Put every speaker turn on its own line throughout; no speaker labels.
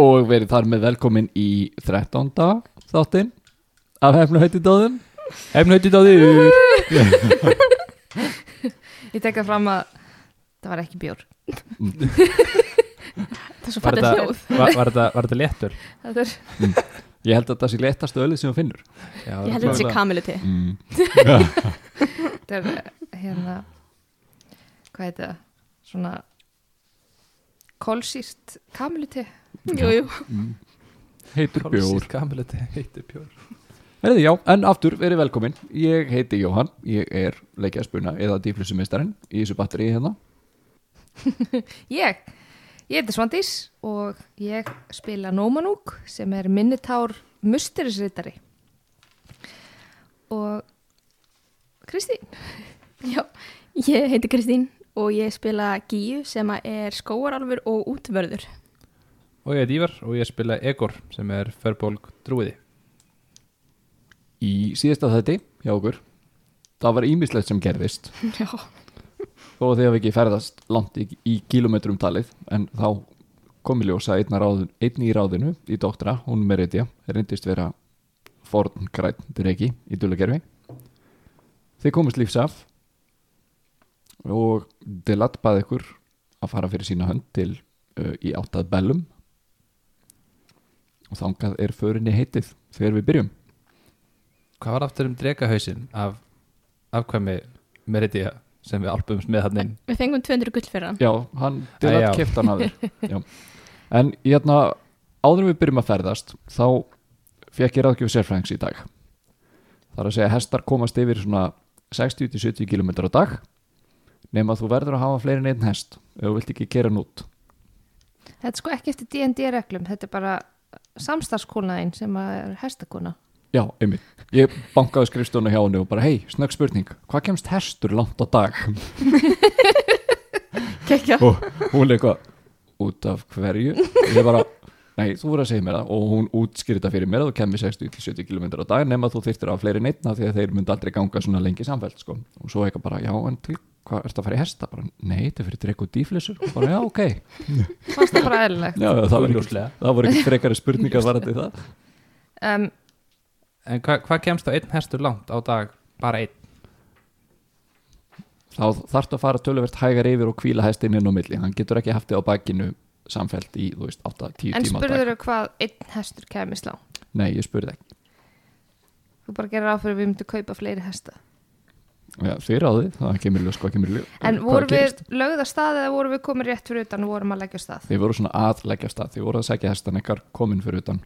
og verið þar með velkomin í 13. þáttinn af hefnahöytidóðum hefnahöytidóður
Ég tek það fram að það var ekki bjór
Það er svo
Var
fallið
þetta-
hljóð
Var, var, þetta, var þetta léttur?
Þetta er,
ég held að það sé léttast ölið sem hún finnur
Já,
Ég held að þetta sé kamilu til
mm.
Þetta er eh, hérna hvað heit það? Svona kolsýrt kamiliti
Jú, jú
mm. heitur bjór
Kamilu til heitur bjór
Herði, já, en aftur verið velkomin ég heiti Jóhann, ég er leikjaðspuna eða dýflissumistarinn í þessu batteri hérna
Ég, ég heiti Svandís og ég spila Nómanúk sem er minnitár musterisritari og Kristín
Já, ég heiti Kristín og ég spila Gíu sem að er skóaralfur og útvörður
Og ég heit Ívar og ég spila Egor sem er förból drúiði
í síðasta þætti hjá okkur það var ímislegt sem gerðist
Já,
þó að þið hafi ekki ferðast langt í, í kilometrum talið en þá komi ljósa einna, ráðin, einni í ráðinu í doktora, hún Meridja reyndist vera forngræn dregi í dulagerfi þið komist lífs af og Dilat baði ykkur að fara fyrir sína hönd til uh, í áttað bellum og þangað er förinni heitið þegar við byrjum
Hvað var aftur um dregahausin af afkvæmi Meridia sem við alpumst með hann inn
við fengum 200 gull fyrir hann
Já, hann til
Æ,
að
já.
kipta hann að þér Já. En hérna áður en við byrjum að ferðast þá fekk ég ráðgjöf sérfræðings í dag Það er að segja að hestar komast yfir svona 60-70 km á dag nema þú verður að hafa fleiri en einn hest ef þú vilt ekki kera hann út
Þetta er sko ekki eftir D&D reglum þetta er bara samstarfskona einn sem að er hestakona
Já, einmitt. Ég bankaði skrifstónu hjá henni og bara, hei, snögg spurning, hvað kemst hestur langt á dag?
Kekja
og hún eitthvað út af hverju ég bara, nei þú voru að segja mér það og hún útskýrði þetta fyrir mér að þú kemur 60-70 km á dag nema þú þyrtir á fleiri neitna því að þeir myndi aldrei ganga svona lengi samfælt sko. og svo eitthvað bara, já en til hvað ertu að fara í hesta? bara, nei, þetta er fyrir drekku dýflissur og bara, já, ok já,
Fannst það bara eðlilegt
það, var ekki,
Augljóslega.
það voru ekki frekari spurningar varandi það
um,
En hva, hvað kemst á einn hestur langt á dag bara einn?
þá þarftu að fara töluvert hægar yfir og kvíla hestinn inn á milli hann getur ekki haft þið á bakinu samfælt í, þú veist, 8-10 tíma
En
á dag.
spurður hvað einn hestur kemist langt
nei, ég spurði ekki,
Þú bara gerir áfyrir að við myndum kaupa fleiri hesta
já, þið ráðið það kemur í ljós, hvað kemur í ljós
En
hvað
voru
gerist.
við lögð að stað eða voru við komin rétt fyrir utan og vorum að leggja af stað?
Þið voru svona að leggja af stað, þið voru að segja hestan ykkar komin fyrir utan.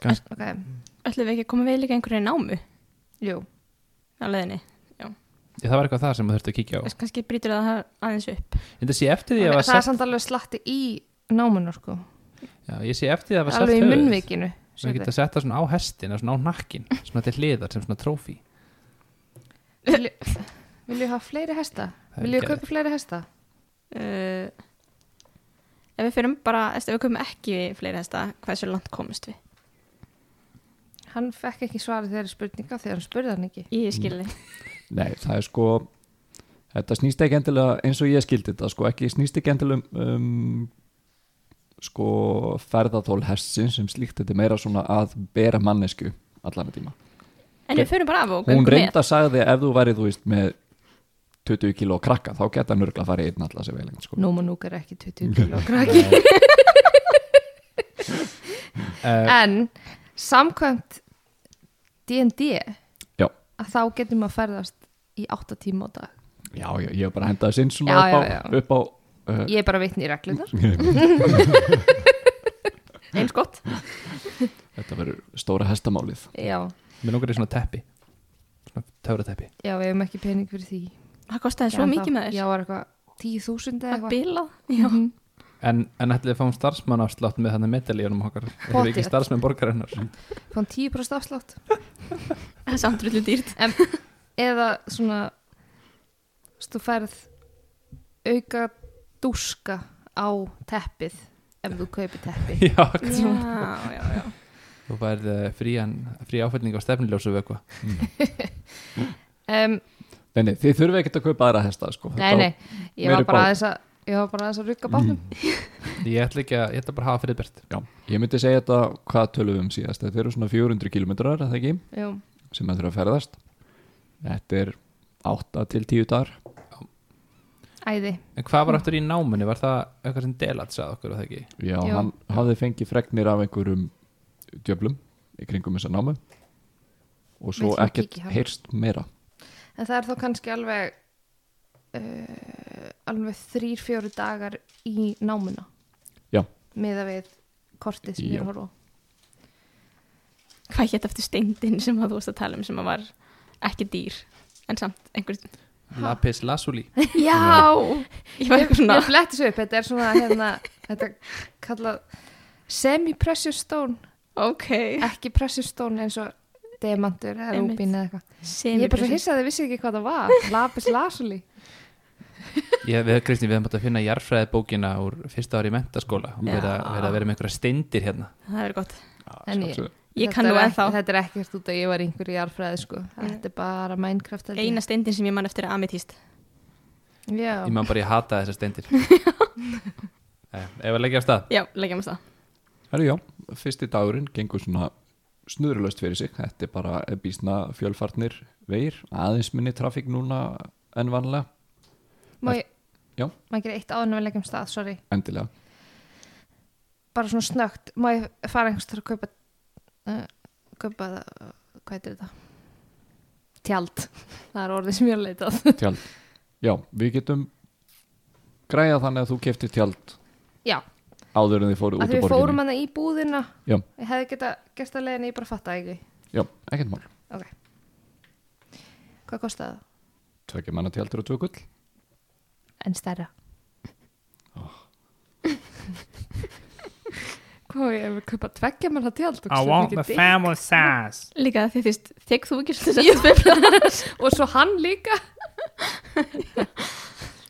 Ok,
Ætlum við ekki að koma við líka einhverju námu
jú,
á leiðinni
Ég, það var eitthvað það sem þú þurfti að kíkja á
Þess kannski brýtur það aðeins upp
Ég sé eftir því
það
að það var
er
selt
samt alveg slatti í námanu sko
Já, ég sé eftir því að það var selt
Alveg í
höfuðið.
munnvikinu
Sem
sérðu.
geta sett það svona á hestin eða svona á nakkin svona til hliðar sem svona trófi
Vilju- Vilju hafa fleiri hesta?
Það er
Vilju
geðveikt.
kaupa fleiri hesta?
uh, Ef við fyrir bara, ef við komum ekki fleiri hesta, hversu langt komumst við?
Hann fekk ekki svarið þeirri spurninga þegar hann spurði hann ekki
Mm.
Ég skilði
Nei, það er sko, þetta snýst ekki endilega eins og ég skildi þetta, sko ekki snýst ekki endilega um, um sko ferðathól hessin sem slíkt, þetta er meira svona að bera mannesku allan að tíma.
En við fyrir bara af og
Hún
göngum með
reynda sagði að ef þú værið, þú veist, með 20 kíló krakka, þá geta nörgla að fara í einn allas eða lengt, sko.
Nómanúk er ekki 20 kilo krakki
Eh,
En samkvæmt D&D
Já.
að þá getum að ferðast í 8 tíma á dag
Já, já, ég hef bara hendað sinn svona
Já,
upp á,
já, já.
Upp á uh,
Ég er bara vitni í reglunar
eins gott
þetta verður stóra hestamálið.
Já,
Mér langar í svona teppi svona töfrateppi
já, við hefum ekki pening fyrir því
Það kostaði svo
En
mikið
þá-
með þess
Já, var eitthvað 10.000 eða
að
eitthvað
bila Já,
En, en ætlið að fáum starfsmann afslátt með þannig medalíunum okkar Það eru ekki
Pottþétt.
starfsmenn borgarinnar
Fáum 10% afslátt
það er samt rullu dýrt
eða svona þú veist, þú færð auka dúska á teppið ef þú kaupir teppi
Já,
já, já, já
þú værið eh, frían, frí áfætning á stefniljósu við eitthvað
um,
Nei, nei, þið þurfið ekkert að kaupa aðra hesta sko.
Nei, nei, ég var
meiri
bara
bát.
aðeins að ég var bara aðeins að rugga bátnum
Ég ætla ekki að, ég ætla bara að hafa friðbært
Já, ég myndi segja þetta hvað tölum við um síðast þetta eru svona 400 kilometrar, það ekki
Jú,
sem maður þurfa að ferðast þetta er 8 til 10 dagar
æði
En hvað
Mm.
var aftur í námunni, var það eitthvað sem delat sagði okkur og það ekki?
já,
Já.
hann hafði fengið fregnir af einhverjum djöflum í kringum þessa námu og svo
Vill hann
ekkert
kíkja á hann?
heyrst meira
En það er þá kannski alveg uh, alveg þrýr, fjóru dagar í námuna
Já.
Miða við kortið sem
Já.
ég er að horfa á.
hvað hétt eftir steindin sem að þú varst að tala um sem að var ekki dýr en samt einhver
Lapis Lazuli
já, ég var
Ég,
eitthvað svona
ég fletti svo upp, þetta er svona hérna, þetta er kallað semi-precious stone
ok,
ekki pressustón eins og demantur eða
Einmitt.
rúbín eða eitthvað
sem
ég er bara svo hissað að þið vissi ekki hvað það var lapis lazuli
Ég, við, Kristi, við hefum bara að finna jarfræðibókina úr fyrsta ári í mentaskóla og
Já.
verið að, verið að vera með einhverja steindir hérna
það er gott,
En ég-
Sjálfsögðu.
ég kann nú ennþá
þetta er ekkert út að ég var einhver í jarfræði sko. þetta er bara Minecraft held ég.
eina steindin sem ég man eftir er amethyst
já,
Ég maður bara ég hata þessar steindir Nei, Ef að leggja af stað
já, leggjum við það
Herru, já, fyrsti dagurinn gengur svona snurulöst fyrir sig þetta er bara býsna fjölfarnir veir, aðeins minni trafík núna en vanlega,
má ég
Já.
má ég gera eitt áður en við leggjum af stað, sorry
endilega
bara svona snögt, má ég fara einhvers til að kaupa uh, kaupa, uh, hvað heitir þetta tjald það er orðið sem ég er að leita að
tjald, já, við getum græða þannig að þú keftir tjald
já,
áður en þið fóru
að
út
því
úr
við fórum
borginni
hana í búðina
Já.
ég hefði geta gert að leiðin ég bara fatta ekki
já, ekkert mál,
Ok. Hvað kostaði það?
tvekja manna tjaldur og tvö gull
En stærra.
Ah.
Hvað, ég vil kaupa tveggja manna tjald og svo mikið dyr.
family size.
líka því þú veist, þegg þú ekki svolítið að spefla
Og svo hann líka.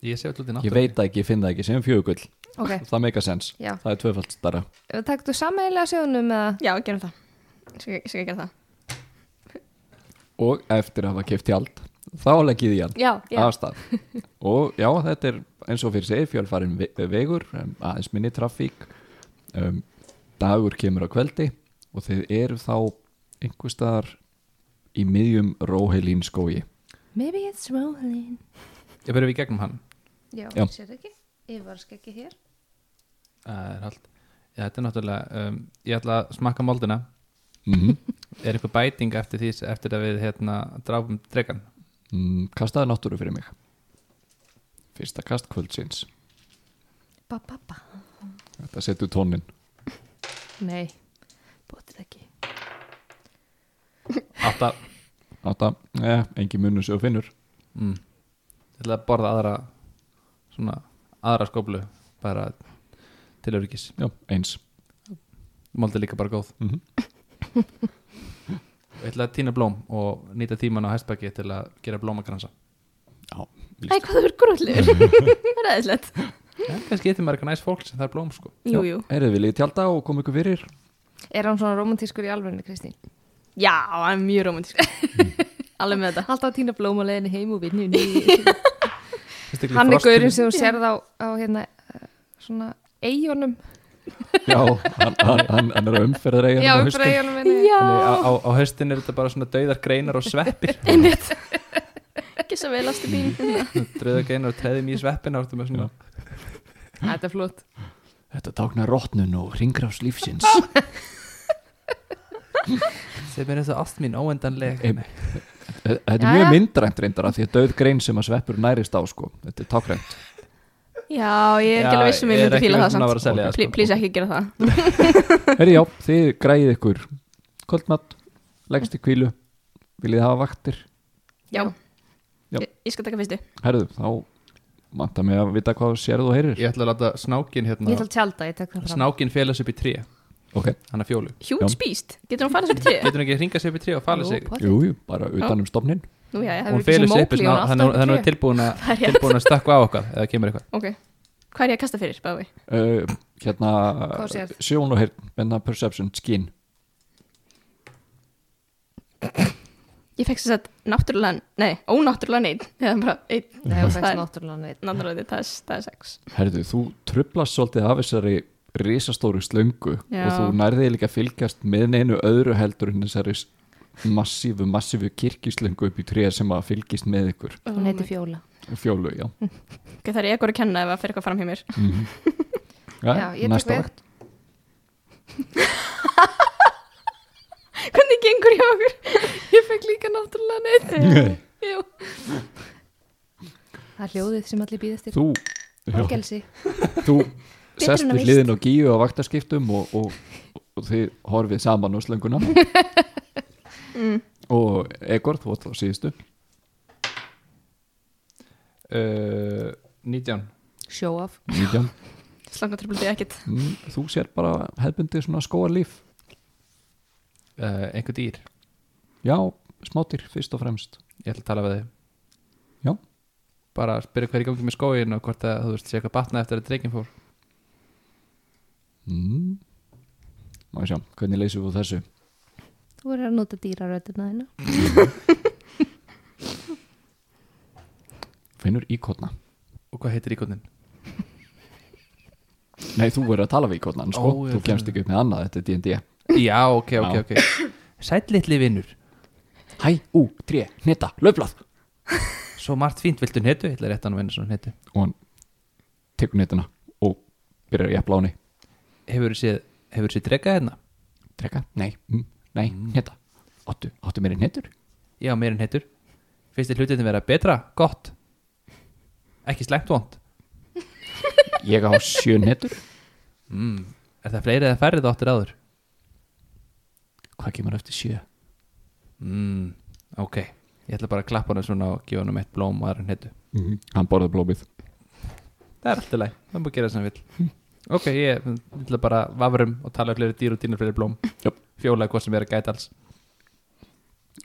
Ég sé alltaf út í
ég
náttúru
veit það ekki, ég finn það ekki, segjum fjögur gull
Ok,
það meika sens,
já.
það er tvöfald starra
Takktu sammeðilega sjónum eða?
já, gerum það Svo ég skal gera það
og eftir að hafa keft tjald þá leggið ég hann
Já, já.
af stað og já, þetta er eins og fyrir segir fjölfarin ve- vegur um, aðeins minni trafík um, dagur kemur á kveldi og þið eru þá einhvers staðar í miðjum róheilín skói
Maybe it's rolling.
Ég verið við í gegnum hann
Já,
Já.
sér ekki. Ég var skekki hér.
Það er allt Já, þetta er náttúrulega um, Ég ætla að smakka moldina
mm
Er eitthvað bæting eftir því eftir að við hérna dráfum dregan
mm, kastaði náttúru fyrir mig fyrsta kast kvöldsins
Ba, ba, ba.
þetta setur tónin
Nei, bótið ekki.
Átta
átta, eh, engin munur sem þú finnur
mm. Ég ætla að borða aðra svona aðra skóplu bara til öryggis
já, eins
Moldi er líka bara góð
mm
Ég ætla að týna blóm og nýta tíman á hæstbæki til að gera blómakransa
já,
Æ,
víst.
hvað þú er grúllur Það er aðeinslegt
ja, Kannski getur maður eitthvað næst fólk sem það er blóm sko
Jú, jú
Eruð viljið tjálta og koma ykkur fyrir?
Er hann svona romantískur í alvörinu, Kristín?
Já, það er mjög romantísk Alveg með þetta
Alltaf að týna blóm á leiðinni heim og vinnu.
Fyrst ekki
Hann er
frostinu-
gaurinn sem þú sérð á, á hérna, uh, svona, eigunum.
Já, hann, hann, hann, hann er að umferðar eigin
Já, bara eigunum minni.
Já,
Þannig á, á, á höstin er þetta bara svona dauðar greinar og sveppir
einmitt Ekki svo vel ástu bíl
Dauðar greinar og treðum í sveppin áttu með svona
Þetta er flott.
Þetta táknar rótnun og ringráfs lífsins
sem er eins og allt mín óendanleg
Em- Þetta er
Jæja.
mjög myndrænt reyndara því að dauð grein sem að sveppur nærist á sko Þetta er tákrænt
Já, ég er
Já,
ekki alveg vissum ég
ég er
myndi
ekki
fíla
viss
það
um að vera að
samt
selja það,
Pl-
sko.
Please ekki gera það
Herri já, þið græðið ykkur kvöldmatt, leggst í kvílu viljið hafa vaktir
Já
Já.
Ég, ég skal taka fyrstu
Herðu, þá Manta mig að vita hvað þú sérð og heyrir
Ég ætla að láta snákin
Ég ætla
hérna
að tjálta, ég tek það fram
Snákin félags upp í tré,
Ok,
hann er fjólu
Huge
Já.
beast, getur hún farið sér til
Getur hann ekki hringa sig upp í tré og fala sig
jú, jú, bara utan um stofnin
Nú já, já,
Hefur
Hún
ekki séð
felur sig upp í
Mowgli,
sná-
hún er
þannig að
alltaf
hún
í
er tilbúin að
það er rétt
tilbúin að stökkva á okkar eða kemur eitthvað
Ok, hvað er ég að kasta fyrir, bæði?
uh, Hérna,
Hvað sérð?
sjón og heyrn Menna perception, skin
Ég fekk sér satt náttúrulega, nei, ónáttúrulega neitt eða bara einn
Nei, hún
Það
fækst
er-
náttúrulega neitt
náttúrulega neitt, það er, það er sex
Herðu, þú trublast svolítið af þessari risastóru slöngu
Já.
og þú nærðið líka að fylgjast með neinu öðru heldur en þessari s- massífu, massífu kirkislöngu upp í tréð sem að fylgist með ykkur
Oh
Hún heiti Fjóla
fjólu, já,
Ok, það er ekkur að kenna ef að fyrir eitthvað fram hjá mér
Já, ég tek
næsta
við.
vakt
Hvernig gengur hjá okkur? Ég fekk líka náttúrulega neitt Jú.
Það er hljóðið sem allir býðast til
þú, já,
Fangelsi
þú
Betur
sest
en að
við hliðin á gíu á vaktaskiptum og, og, og þið horfið saman á slönguna og Egor, þú átt á síðustu
Uh, 19
Show off
19.
Slanga tröflum því ekkit
Mm, þú sér bara hefbundið svona skóarlíf
uh, einhver dýr,
já, smátir, fyrst og fremst
ég ætla að tala við þig
Já.
bara að spyrja hver í gangi með skóin og hvort að þú veist sé eitthvað batna eftir að dreikin fór
Mm. Má ég sjá, hvernig leysum við úr þessu?
Þú er að nota dýraröðina þína
Finnur íkotna.
og hvað heitir íkotnin?
Nei, þú verður að tala við íkotnan, sko.
Ó, ég
þú kemst ekki upp með annað, þetta er D&D.
já, ok, ok,
Já.
ok sæll litli vinnur,
Hæ, ú, tré, hnita, löfblað.
svo margt fínt viltu netu, ég ætla rétt að hann vinna svona netu
Og hann tekur hnituna og byrjar í epláni.
hefur þú séð, hefur þú séð drekað hérna?
Treka, nei, mm, nei, hnita. Áttu, áttu meiri hnitur?
já, meir en heitur finnst þér hlutin vera betra, gott ekki slæmt vond
Ég á sjö hnitur.
mm. er það fleiri eða færri þáttir áður?
Hvað kemur eftir sjö?
Mm, ok, ég ætla bara að klappa hann svona og gefa hann eitt blóm og aðra netu
Mm. Hann borðar blómið.
Það er alltaf læg, það má gera sem hann vil Ok, ég ég ætla bara að vafrum og tala um fleiri dýr og dýna fleiri blóm
Jöp.
Fjólaði hvort sem er að gæta alls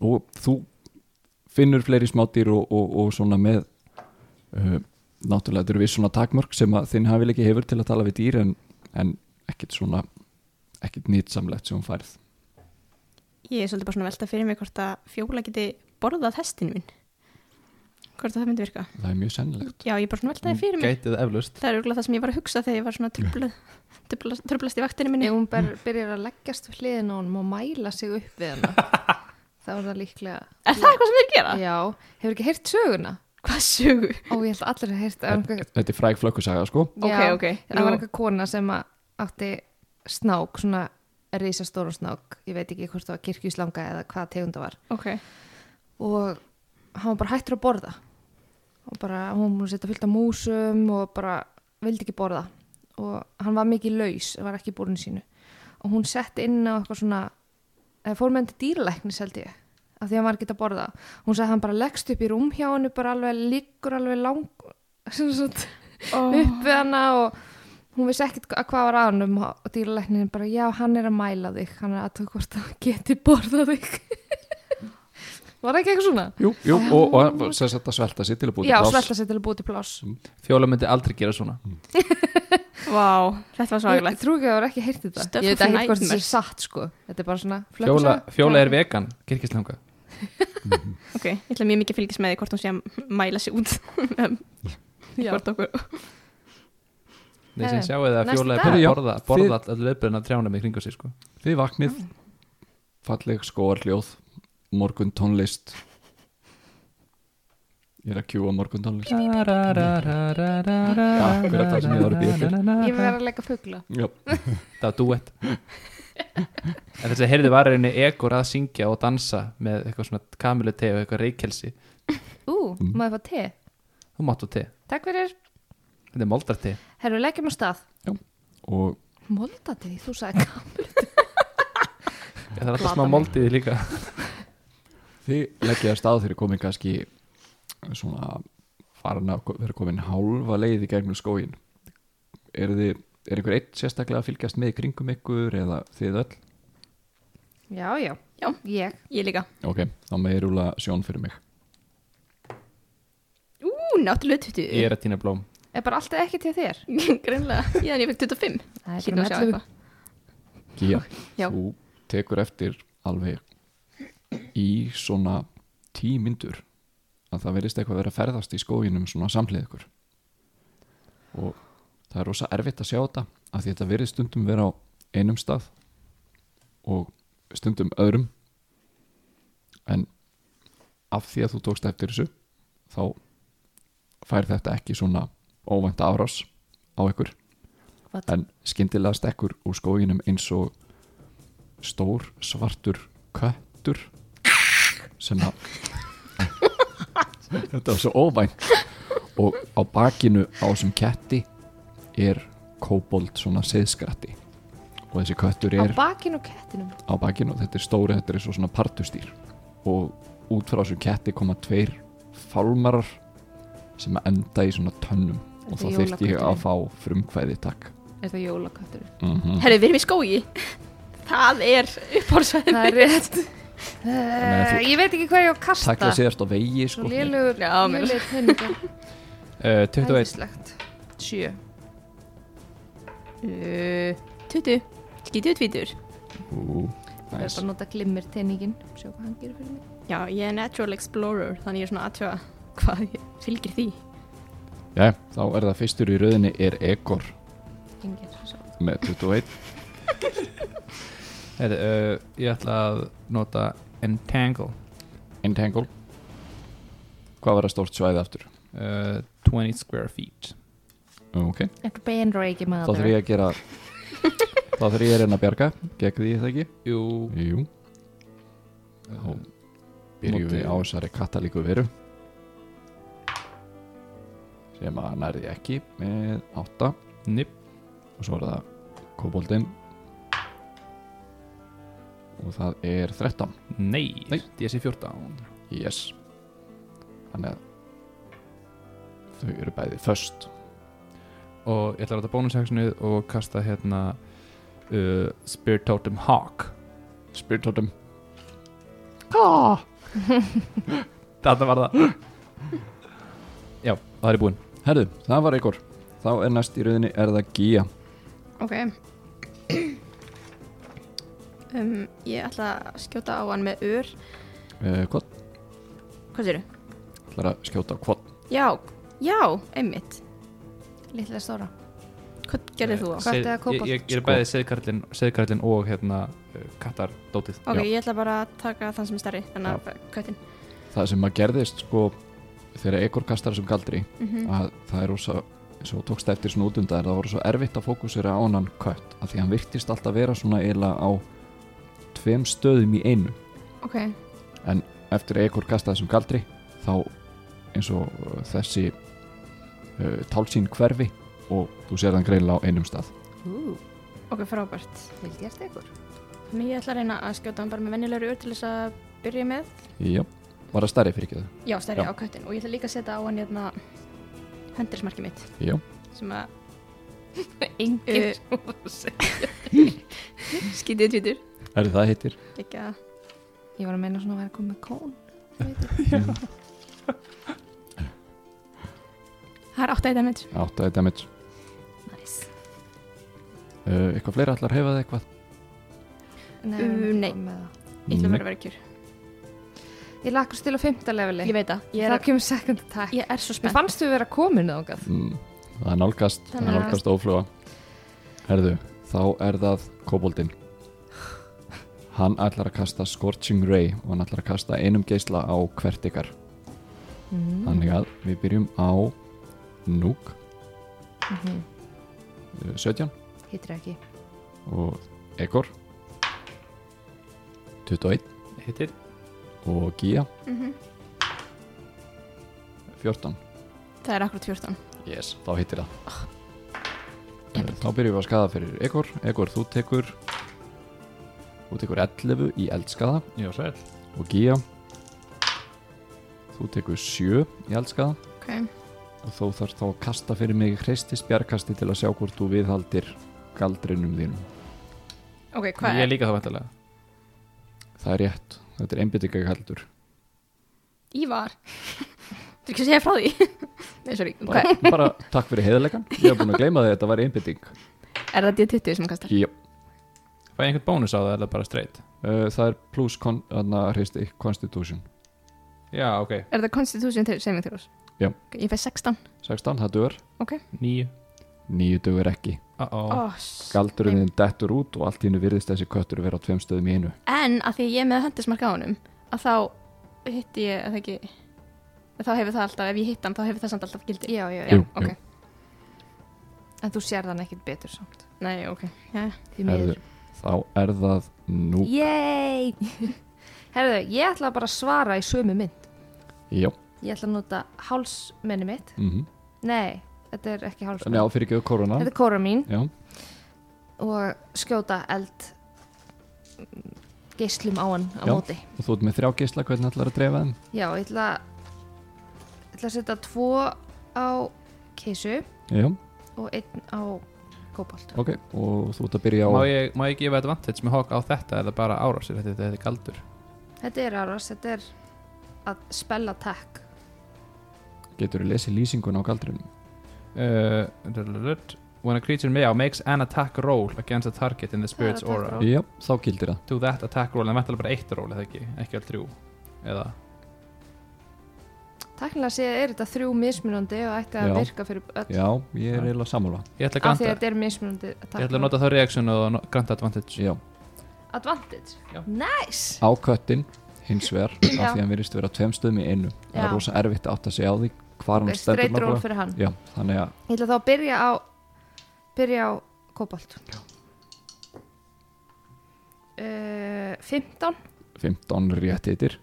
Og þú finnur fleiri smátýr og, og, og svona með uh, náttúrulega þetta eru við svona takmörk sem að þinn hafi ekki hefur til að tala við dýr en, en ekkit svona ekkit nýtsamlegt sem hún færð
Ég er svolítið bara svona að velta fyrir mig hvort að fjóla geti borðað hestin minn Hvort að það myndi virka
það er mjög sennilegt
Já, ég er bara svona að velta því fyrir mig
Mm. Gætið eflaust
Það er örgulega það sem ég var að hugsa þegar ég var svona tröflað tröflast, tröflast í vaktinni minni
Ef hún ber, byrjar að leggjast við hliðin á honum og mæla sig upp við hana þá er það líklega
Er það eitthvað sem þeir gera?
Já, hefur ekki heyrt söguna?
Hvað sögu?
Ó, ég held allir að heyrt það var einhver-
þetta er fræg flökkusaga sko
Ok,
Já,
ok,
Það var
nú-
einhver kona sem að átti snák, svona risastóra snák ég veit ekki hvort það var kirkjuslanga eða hvað tegunda var
Ok,
og hann var bara hættur að borða og bara hún múið setja fullt af músum og bara vildi ekki borða og hann var mikið laus var ekki búrinu sínu og hún sett inn á eitthvað svona eða fór með hann til dýralæknis held ég af því hann var ekki að borða hún sagði að hann bara leggst upp í rúm hjá hennu bara alveg liggur alveg lang sem sagt, upp við hana og hún vissi ekkit hva- hvað var að hann um og dýralæknin bara já hann er að mæla þig hann er að tók hvort að geti borðað þig var það ekki eitthvað svona?
jú, jú, og, og, og sem sagt að svelta sér til að búið
Já, svelta sér til að búið til pláss
Fjóla myndi aldrei gera svona
vá, þetta var
Ég
svaglegt
trú ekki að það var ekki heyrt þetta
Stuff
Ég veit
of
ekki hvort þetta sé
nightmares.
satt sko Þetta er bara svona
Fjóla,
flökkusaga.
fjóla er vegan, kirkislanga
Ok, ég ætla mjög mikið að fylgjast með því hvort hún sé að mæla sig út um,
Já.
hvort okkur
Nei, sem
Herðu,
sjáu það að
næsta
fjóla er
dag.
bara að
Já,
borða, borða all- öll löpurinn af trjánum í kringu sig sko.
þið vaknið falleg skóarljóð morgun tónlist ég er að kjúa morgun tónlist akkurat það sem ég var að bíða eftir.
Ég vil vera að leika fugla
já,
Það var duett En þess að heyrði varinni Egor að syngja og dansa með eitthvað svona kamilu te og eitthvað reykelsi
Ú,
Mm.
maður fá te
Þú máttu te,
Takk fyrir
þetta er moldar te
Herru, leggjum á stað
og
Molda til því, þú sagði gaman.
Það er alltaf
Plata
smá
mig.
moldið í því líka
Þið leggja það stað þegar komið kannski svona farin að ko- vera komin hálfa leið í gegnum skógin er, þið, er einhver eitt sérstaklega að fylgjast með í kringum ykkur eða þið öll
já, já,
Já.
ég
Ég líka.
ok, þá meir úla sjón fyrir mig
Ú, náttúrulega 20.
Ég er að týna blóm
er bara alltaf ekki til þér
Greinlega. Já, en ég fekk 25.
það er
Hlýtur að sjá eitthvað.
Gía,
Já.
þú tekur eftir alveg í svona tíu myndur að það verðist eitthvað vera að ferðast í skóginum svona samhlið ykkur og það er rosa erfitt að sjá þetta af því þetta verðist stundum vera á einum stað og stundum öðrum en af því að þú tókst eftir þessu þá fær þetta ekki svona óvænt árás á ykkur
What?
en skyndilega stekkur úr skóginum eins og stór svartur köttur sem að þetta var svo óvænt og á bakinu á þessum ketti er kobold svona seðskratti og þessi köttur
á
er
bakinu og kettinum
á bakinu og þetta er stóri, þetta er svo svona partustýr og út frá þessu ketti koma tveir fálmarar sem að enda í svona tönnum og þá
Þetta er
þyrfti ég að
jólakötturinn.
fá frumkvæði takk
er það jólaköttur
mm
Herri, við erum í skói. Það er uppáhaldsvæðið.
það er rétt
að
uh,
þú-
ég veit ekki hvað ég á að
Takk það
kasta
séðast á vegi sko.
svo lélugur
Já, mér-
lélugur peningar
uh, 21
Æðislegt. sjö
Uh, 20. Skítið tvítur.
Ú,
Það er
næs.
bara að nota glimmir teiningin Sjá hvað hann gerir fyrir mig
Já, ég er natural explorer, þannig ég er svona aðtjóða hvað ég fylgir því.
Jæja, Þá er það fyrstur í rauðinni er Egor
Engir, svo.
með 21
Heyrðu, uh, Ég ætla að nota Entangle
Entangle Hvað var það stórt svæði aftur?
uh, 20 square feet
Ok,
Þetta er beinreiki
þá þurf ég að gera þá þurf ég að reyna að bjarga gegn því er það ekki?
Jú
Jú,
uh,
byrjum við
Móti-
á þessari katalíku veru sem að nærði ekki með 8
Nip
og svo er það koboldin og það er 13
Nei,
Nei.
DC 14
Yes Þannig að þau eru bæði föst
Og ég ætla að ráta bónushagsinu og kasta hérna uh, Spirit Totem Hawk
Spyrtóttum
Þetta var það Já, það er búinn
Herðu, það var ykkur Þá er næst í rauðinni er það Gía
Ok um, Ég ætla að skjóta á hann með ör
uh, Hvort?
Hvað séru?
Það er að skjóta á hvort
Já, já, einmitt
Lilla stóra
Hvað gerðir þú á?
Hvað ertu að kaupa?
Eh, Ég, ég, ég er
Sko.
bæði seðkarlinn, seðkarlinn og hérna uh, kattardótið
Ok,
já.
ég ætla bara að taka þann sem er stærri Þannig að köttin
Það sem að gerðist sko þegar ykkur kastar þessum galdri
mm
að það er ósa svo tókst eftir svona útundar það voru svo erfitt að fókusera á hann kött af því hann virtist alltaf vera svona eiginlega á tveim stöðum í einu
Ok,
eftir að ekkur kasta þessum galdri þá eins og uh, þessi uh, tálsín hverfi og þú sér þann greila á einum stað
Ú,
ok, frábært
vil gert ykkur
Þannig ég ætla að reyna að skjóta hann bara með venjulegur ör til þess að byrja með
Jú, var það stærri fyrir ekki það?
Já, stærri
Já.
á köttin Og ég ætla líka að setja á hann hérna Hendersmarki mitt
Jú,
Sem að
Engir
Eh. skítið tvítur
er það heitir?
Ekki að
Ég var að meina svona að vera að koma með kón
Það er átt að þetta mitt
8 damage
Nice
uh, Eitthvað fleira ætlar að hefa það eitthvað?
Nei,
Uh,
við erum
nei.
að koma með það.
Ég ætla bara að vera kjur
Ég lakast til á fymta leveli
Ég veit það Ég
Það
er,
kemur second attack
ég er svo
Mér
spennt
fannst þú vera komin þángað
mm, Það er nálgast, það
Þannig
er
að-
nálgast ófluga Herðu, þá er það koboldin Hann ætlar að kasta Scorching Ray og hann ætlar að kasta einum geisla á hvert ykkar
Mm.
Mm.
Þannig að við byrjum á Núk
Mhm.
17
Hittir ekki
eh, og Egor 21
Hittir
og Gía
Mhm.
14
Það er akkurat 14.
Yes, þá hittir það oh. Þá byrjum við að skada fyrir Egor Egor, þú tekur þú tekur 11 í eldskaða
Já, sæl
og Gía þú tekur 7 í eldskaða
Ok.
og þó þarf þá að kasta fyrir mig hreistist bjarkasti til að sjá hvort þú viðhaldir galdrinum þínum.
Ok, hvað
Ég
er?
líka þá vantilega
Það er rétt, þetta er einbyttingakaldur.
Ívar Þú ekki að segja frá því Nei, sorry, hvað
Bara, bara takk fyrir heiðarleikan, ég hef búin að gleyma því að þetta var einbytting.
er það D20 sem kastar?
Jú,
Fæ ég einhvern bónus á það eða bara straight
uh, það er plus kon, anna, hreisti, constitution.
Já, ok,
Er það Constitution til saving throws?
Já.
Ok, Ég fæ 16
16, það duður,
nýju
9 duður ekki.
uh -oh.
oh.
Galdurinn þinn dettur út og allt í hennu virðist þessi köttur vera á tveim stöðum í einu.
En að því að ég er með höndismark á honum að þá hitti ég, að það ekki að þá hefur það alltaf, ef ég hitt hann þá hefur það samt alltaf gildi
já, já, já.
Jú,
ok.
jú.
en þú sér þann ekkit betur samt
Nei, ok Já,
því
Herðu,
miður
þá er það nú.
Yay! Herðu, ég ætla bara að svara í sömu mynd
Jú,
ég ætla að nota hálsmenni mitt
mm
nei, þetta er ekki hálsmenni
þannig á fyrir ekki korona.
þetta er kóra mín
Já,
og skjóta eld mm, geislum á hann á
Já.
móti
og þú ert með þrjá geisla, hvernig ætlar að dreifa þeim?
já, ég ætla ég ætla að setja tvo á keisu
Já,
og einn á kóbolt
ok, og þú ert að byrja á...
má, ég, má ég gefa advantage með hokk á þetta eða bara árásir, þetta, þetta er galdur
þetta er árás, þetta er að spella takk
Getur þú lesið lýsingun á galdrinum?
uh, When a creature may makes an attack roll against a target in the spirit's
Það er attack
aura
roll.
Já, þá gildir það.
Do that attack roll, en vantilega bara eitt roll eða ekki, ekki all þrjú eða,
Takkilega séð er þetta þrjú mismunandi og ætti að
Já.
virka fyrir öll
Já, ég er eiginlega sammála.
ég ætla að
af því að
granta
þetta er mismunandi
Ég ætla að nota þá reaction og no- granta advantage
Já,
Advantage,
Já.
nice
á köttin, hins vegar, af því að hann virðist vera á tveim stöðum í einu. Það
Já.
er rosa erfitt að átta sig á því hvar hann stendur
Straight roll fyrir hann
Já, þannig að
Ég ætla þá að byrja á byrja á kobolt uh, 15
15 rétt hittir,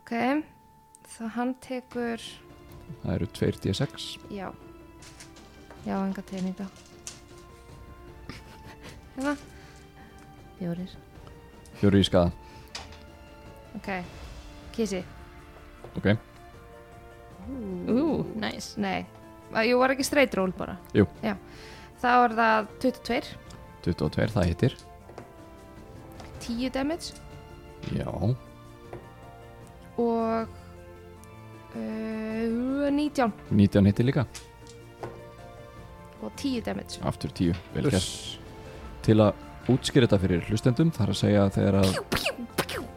ok þá hann tekur
það eru 2 D6.
já já, enga tegninga hérna fjórir
Fjóri í skaða,
ok, kísi
ok?
ú, nice
nei, Að- jú var ekki straight roll bara
Jú.
já. þá er það 22
22, það hittir.
10 damage
Já,
og uh, 19
19 hittir líka,
og 10 damage
aftur 10, vel gert. Til að útskýra þetta fyrir hlustendum, þar að segja að þegar að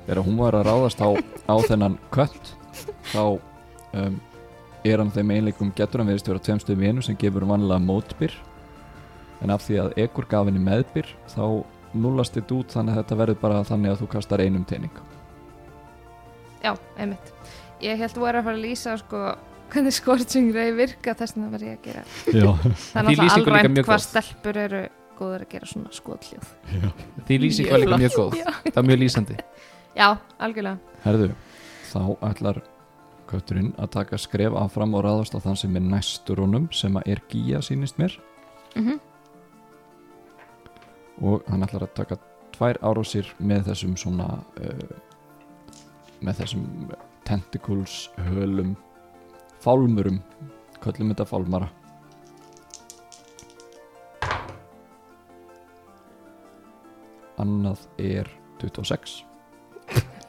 þegar hún var að ráðast á, á þennan kött þá um, er hann þeim einleikum getur hann verið vera tveim stöðum í einu sem gefur vanlega mótbyr en af því að ekkur gaf henni meðbyr þá nullast þetta út þannig að þetta verður bara þannig að þú kastar einum teining
Já, einmitt. Ég held voru að fara að lýsa sko, hvernig scorching ray virka þess vegna var ég að gera.
Já,
Það er
Því
náttúrulega
lýsing er líka
alræmt
mjög
hvað
góð.
stelpur eru góður að gera svona skotljóð.
Því lýsing var líka mjög góð, það var mjög lýsandi
Já, algjörlega.
herðu þá ætlar kötturinn að taka skref áfram og ráðast á þann sem er næstur honum sem að er gíja sýnist mér
Mhm.
og hann ætlar að taka tvær árásir með þessum svona uh, með þessum tentacles, hölum fálmurum köllum þetta fálmara annað er 26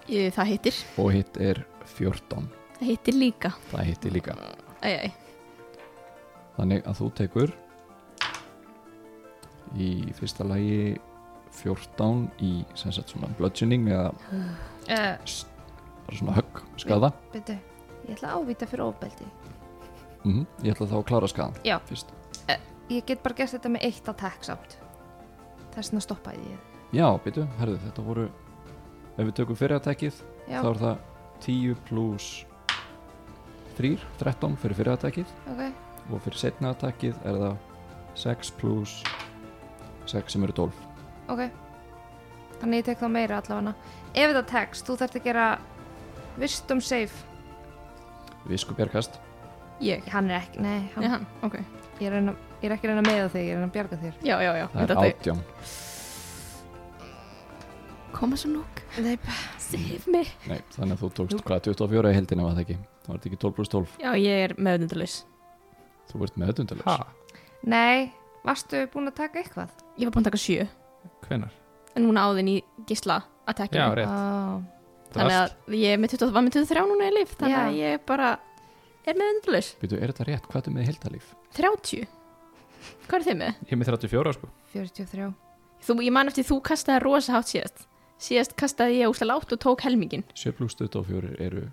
Jú, Það hittir
og hitt er 14
Það hittir líka
það hitti líka
Æ, æ,
þannig að þú tekur í fyrsta lagi 14 í sem sagt svona bludgeoning eða
Uh,
bara svona högg skada
Byttu, ég ætla að ávita fyrir ofbeldi.
mm ég ætla þá að klára skadan
Já.
fyrst
Ég get bara gert þetta með eitt attack samt. Þess vegna stoppaði ég.
já, byrju, herðu, þetta voru ef við tökum fyrir aðtækið
Já,
þá er það 10 pluss 3, 13 fyrir fyrir aðtækið
ok.
og fyrir setna aðtækið er það 6 pluss 6 sem eru 12
Ok. Þannig ég tek þá meira allavega. Ef þetta tekst, þú þarft að gera wisdom save.
visku bjargast
ég
Hann er ekki, nei,
Nei,
hann,
hann, ok
ég, er að reyna, ég er ekki að reyna með þig, ég er að reyna að bjarga þér.
Já, já, já
það er
Þetta-
18
Koma svo núk
Nei,
Save me
Nei, þannig að þú tókst hvað 24 í heldina var það ekki Það var þetta ekki 12 pluss 12
Já, ég er meðundulis
Þú ert meðdundalus
Ha,
Nei, varstu búin að taka eitthvað?
Ég var búin að taka sjö
hvenar?
en núna áðin í gísla attackinu.
Já, rétt.
Ó,
Þannig að ég er með 20, var með 23 núna í lif þannig að
Já.
ég bara er með endurlaus.
Býtu, er þetta rétt? Hvað er þetta með heildalíf?
30. Hvað er þið með?
Ég er með 34 sko
43
Þú, ég man eftir þú kastaði rosa hátt síðast. Síðast kastaði ég úslega látt og tók helmingin
7 pluss 24 eru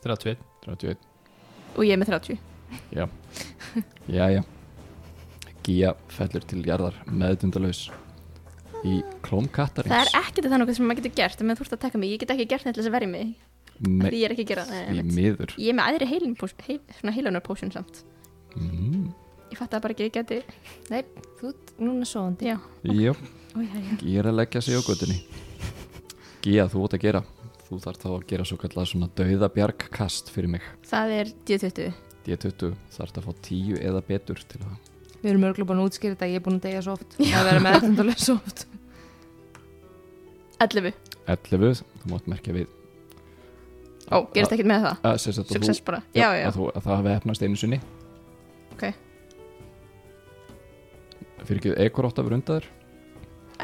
31
31
og ég er með 30.
Já, já, já Gía fellur til jarðar meðdundalus í klóm kattarins
Það er ekkert það nokkuð sem maður getur gert menn þú ert að taka mig. Ég get ekki gert neitt til þess að verja mig
Nei,
því ég er ekki að gera það.
því
einmitt.
miður
Ég er með aðri heilin, heil, svona heilunar potion samt.
mm,
Ég fatt bara ekki að ég geti.
Nei, þú ert núna svoandi
Já.
Jó,
Ó, já, já.
Gía er að leggja sig á göttunni Gía, þú átt að gera Þú þarf þá að gera svo kallar svona dauðabjargkast fyrir mig
Það er 10-20.
D20 þarf að fá 10 eða betur til það
Við erum örgulega búin að útskýra þetta, ég er búin að deyja svo oft að vera með þetta svo oft
11.
11, þú mátt merkja við
Ó, gerist ekkert með það.
að, sem sagt að,
Success
þú,
bara. Já, já.
að, þú, að það hafi hefnast einu sinni
Ok.
Fyrir ekki ekkur átt að vera undaður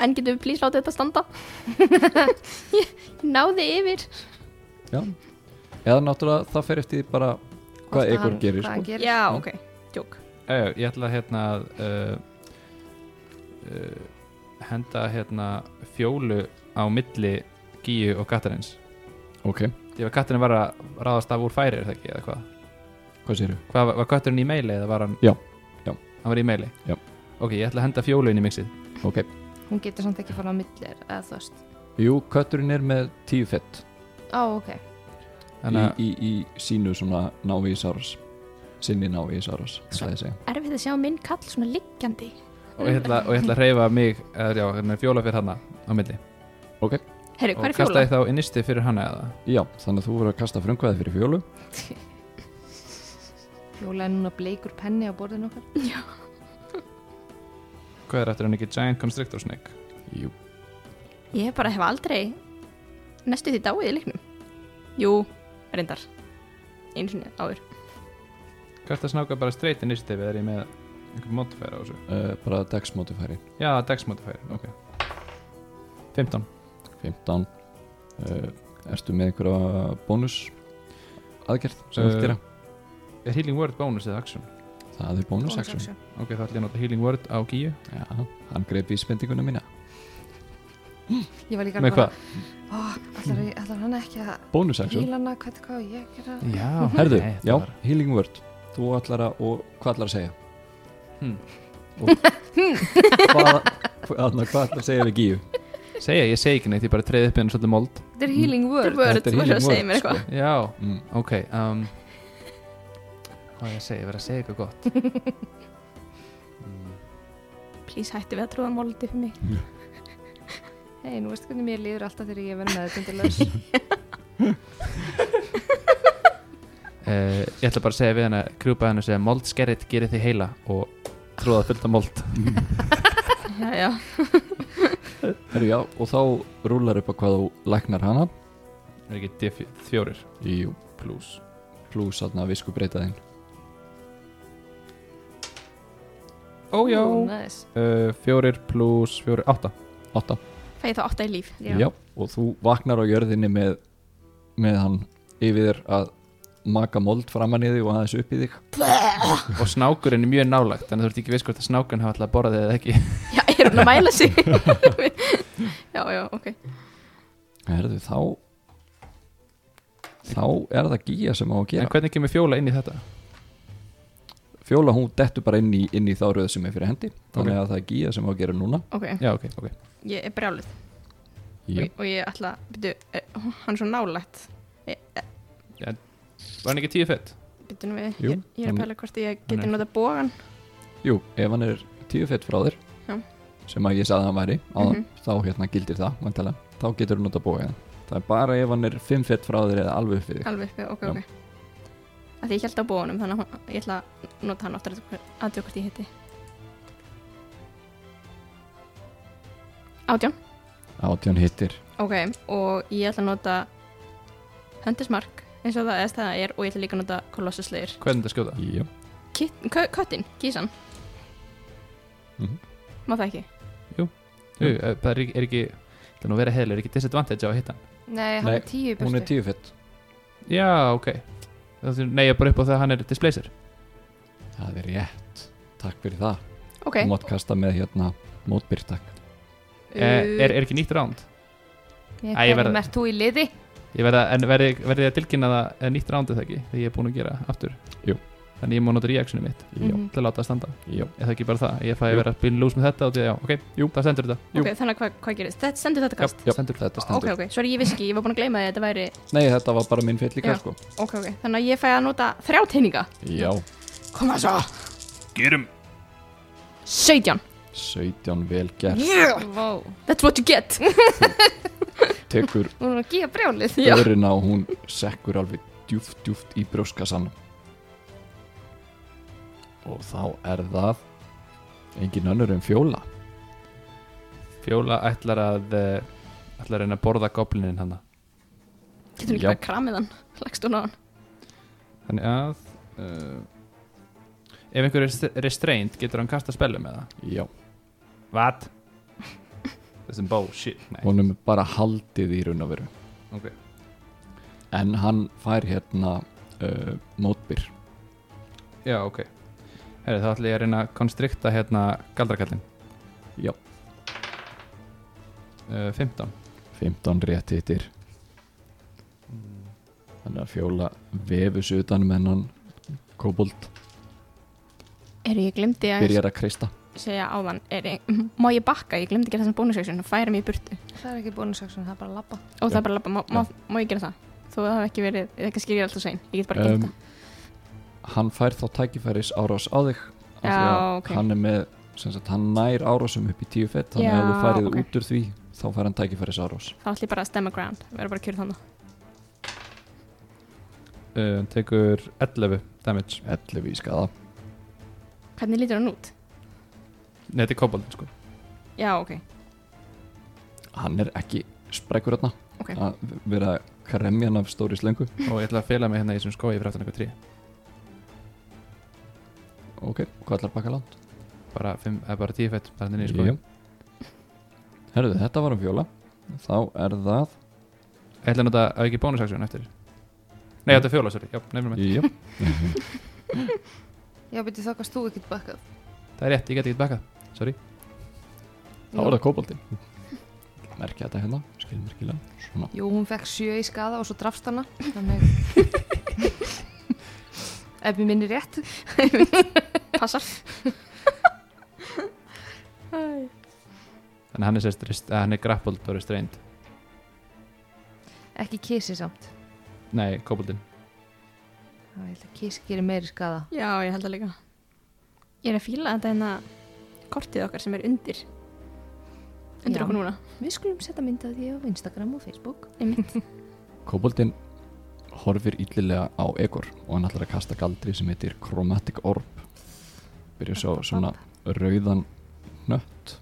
En getum við plís látið þetta standa? ég náði yfir.
Já, eða náttúrulega það fer eftir því bara hvað
Hvort að
Egor
hann-
gerir
hvað
sko.
hann gerir.
Já, ok. Jók.
Já, já, ég ætla hérna að uh, uh, henda hérna fjólu á milli Gíu og Katarins
Ok,
Því að Katarinn var að ráðast af úr færi er það ekki, eða hvað?
hvað séru?
Hva, var Katarinn í meili eða var hann?
Já, já.
Hann var í meili?
Já.
Ok, ég ætla að henda fjólu inn í mixið
Ok,
Hún getur samt ekki fara á millir, eða þú veist
jú, kötturinn er með tíu fett
Ó, ok,
í,
Þannig að
í, í sínu svona návísárás sinni návísárás það ég segja
Erfið að sjá minn kall svona liggjandi.
og ég ætla, og ég ætla að reyfa mig eða, já, hérna, fjóla fyrir hana á milli
Herru, hvað
og
er fjóla?
kastaði þá innisti fyrir hana eða
Já, þannig að þú verður að kasta frumkvæði fyrir fjólu
Jóla er núna bleikur penni á borðinu okkar
hvað er eftir hann ekki Giant Constrictor Snake
Jú,
Ég hef bara hef aldrei næstu því dáið í leiknum. Jú, reyndar. Einu sinni áður.
Hvert að snáka bara straight initiative eða er ég með einhvern modifier á þessu?
uh, bara dexmótifæri
Já, dex modifier, ok 15
15 uh, Ertu með einhverja bónus aðgerð sem þú
Eh,
vilt gera?
Er healing word bonus eða action?
Það er bónus action
Action.
Ok, þá ætlum ég að nota healing word á gíu
Já, hann greip í spendinguna mína
Ég var líka
Með
bara,
hvað?
ó, allar, allar hann ekki að
Bónus action?
hýla hana, hvað, hvað á ég að gera
Já,
Herðu,
nei, þetta
já,
var-
healing word Þú ætlar að, og hvað ætlar að segja?
Hmm.
Og hvað, hvað, hvað ætlar að segja við Gíu?
Segja, ég segi ekki neitt, ég bara treyði upp hérna svolítið mold
Þetta er healing
Þetta
word
Þetta er
var að
healing
segja
word,
mér eitthvað.
Já,
Mm.
ok um, Hvað er ég að segja, ég verð að segja eitthvað gott mm.
Please hætti við að trúða móldi fyrir mig.
Hei, nú veistu hvernig mér líður alltaf þegar ég verð með þetta undirlaus
uh, Ég ætla bara að segja við hana, krjúpa hana og segja Mold skerrit gerir þig heila og tróða fullt af mold
Já, já.
Herru, já, og þá rúlar upp að hvað þú læknar hana
Er ekki D4
Jú,
plus
plus aðna visku breytaðinn
Ó já
Ú, nice.
uh, Fjórir plus fjórir, átta
8,
Fæ ég þá átta í líf.
já. og þú vaknar á jörðinni með, með hann yfir þér að maka mold framan í þig og aðeins upp í þig
Og snákurinn er mjög nálægt Þannig að þú ert ekki veist hvort að snákurinn hafa alltaf að borða þig eða ekki
Já, ég er hún að mæla sig. já, já, ok.
Herðu, þá þá er það Gíja sem á að
En
gera
hvernig kemur fjóla inn í þetta?
Fjóla hún dettur bara inn í, inn í þá röð sem er fyrir hendi þannig
Ok.
að það er Gíja sem á að gera núna
Ok,
Já, ok, ok
ég er brjáluð
Jú.
og, og ég ætla, byrju, eh, hann er svo nálægt.
Var hann ekki tíu fett?
Byrju nú við,
Jú,
ég, ég er
hann-
að pæla hvort ég
hann
geti
er-
nota bógan.
Jú, ef hann er tíu fett frá þér
Já.
sem að ég sagði að hann væri áðan,
Mhm.
þá hérna gildir það, mæntalega þá getur þú nota bóið hérna. það er bara ef hann er fimm fett frá þér eða alveg upp við þig
Alveg uppi, ok,
Já.
ok. Af því ég held á bóðunum, þannig að hún- ég ætla að nota hann aftur að djókvort ég hitti. Átján,
átján hittir
ok, og ég ætla að nota höndismark eins og það eða það er og ég ætla líka að nota kolossusleir.
Hvernig þetta skjóta?
Jú.
Kit- kö- köttin, kísan
Mhm.
Má það ekki?
Jú, eh, það er, ekki- er ekki Það er nú að vera heilir, er ekki disadvantage á að hitta hann
Nei, hann
Nei,
er tíu í
Hún er
burtu.
tíu fett
Já, ok Það er- Nei, ég er bara upp á það að hann er displeysir
Það er rétt, takk fyrir það
Ok,
Þú mátt kasta með hérna mótbyrtak
er, Eh,
eh,
er, er ekki nýtt ránd?
Ég,
Æ, ég
hverjum
verð-
ert þú í liði?
Ég verða, en verði, verði að tilkynna það eh, nýtt rándið það ekki Þegar ég er búin að gera aftur
Jú.
Þannig ég má nota reactionið mitt
Jó,
Mhm.
til að láta það standa
jó
Er það ekki bara það? Ég fæ að
Jú.
vera að byrja lús með þetta og því að já, ok, jú, það stendur þetta
ok, þannig að hvað hva gerist? Þetta stendur þetta kast?
Já,
Stendur.
þetta
Ok,
stendur
ok, sorry, ég vissi ekki, ég var búin að gleyma því að þetta væri
Nei, þetta var bara minn fyll líka
Já.
sko
Ok, ok, þannig að ég fæ að nota þrjá teininga
Já,
Koma svo
Gerum
17
17 vel gert
yeah.
Vá,
That's what you get
Tekur
þú erum að gíja brjálið.
Já.
öðruna og hún sekkur alveg djúft, djúft í brjóskassan Og þá er það engin önnur en fjóla
Fjóla ætlar að eh, ætlar að reyna að borða goblinin hann
Getur hún ekki
Já.
bara kramið hann, lagst hún á hann
Þannig að uh, Ef einhver er rest- restrained getur hann kasta spellum með það
Já,
What? Þessum bó, shit Nei,
honum er bara haldið í raun og veru
ok
En hann fær hérna uh, mótbyr
Já, ok Herri, þá ætla ég að reyna að konstrikta hérna galdrakallin
Já.
uh, 15
15 rétt hittir Þannig að fjóla vefus utan með hann kobold
Eru ég glemdi að
byrjar að kreista
segja áðan er, Má ég bakka, ég glemdi að gera þessan bónusaksjón og færa mig í burtu
Það er ekki bónusaksjón, það er bara að labba.
og það er bara að labba, má, má, má ég gera það? Þó það hef ekki verið, eða kannski er ég alltaf sein Ég get bara gert
Um, Hann fær þá tækifæris árás á þig af því
Já,
að
ok.
Hann er með, sem sagt, hann nær árásum upp í tíu fett Þannig að
Já,
ef þú færið
ok.
út úr því þá fær hann tækifæris árás
það Þá ætla ég bara að stemma ground, vera bara að kjöra þannig
uh, Tekur 11 damage
11 í skada
Hvernig lítur hann út?
Nei, þetta er koboldin sko
Já, ok,
Hann er ekki sprekur þarna
ok
að vera kremjan af stóri slengu
Og ég ætla að fela mig hérna í þessum skói fyrir aftan eitthvað trí
Ok, hvað ætlar að baka land?
Bara, fimm, eða bara 10 fett bara hérna í skói
Jú. Herðu, þetta var um fjóla Þá er það
Ég ætla að nota að ekki bónusaksjón eftir Nei, þetta er fjóla, sorry, já, nefnum við
Jú.
Já, betur þá kannst þú ekkert bakkað.
Það er rétt, ég get ekki bakkað, sorry
Þá er það koboldi Merkja þetta hérna, skilmerkilega Svona,
Jú, hún fekk sjö í skada og svo drafst hana. Þannig... Ef mér minni rétt.
Passar
Þannig að hann er, sérst, rest- að hann er grappled og restrained
Ekki kísi samt.
Nei, koboldin
Það ég held að kísi gerir meiri skada.
Já, ég held að líka Ég er að fíla þetta hérna kortið okkar sem er undir Undir
Já.
okkur núna
Við skulum setja myndað því á Instagram og Facebook.
Einmitt.
koboldin horfir illilega á Egor og hann ætlar að kasta galdri sem heitir Chromatic Orb byrja svo svona rauðan nött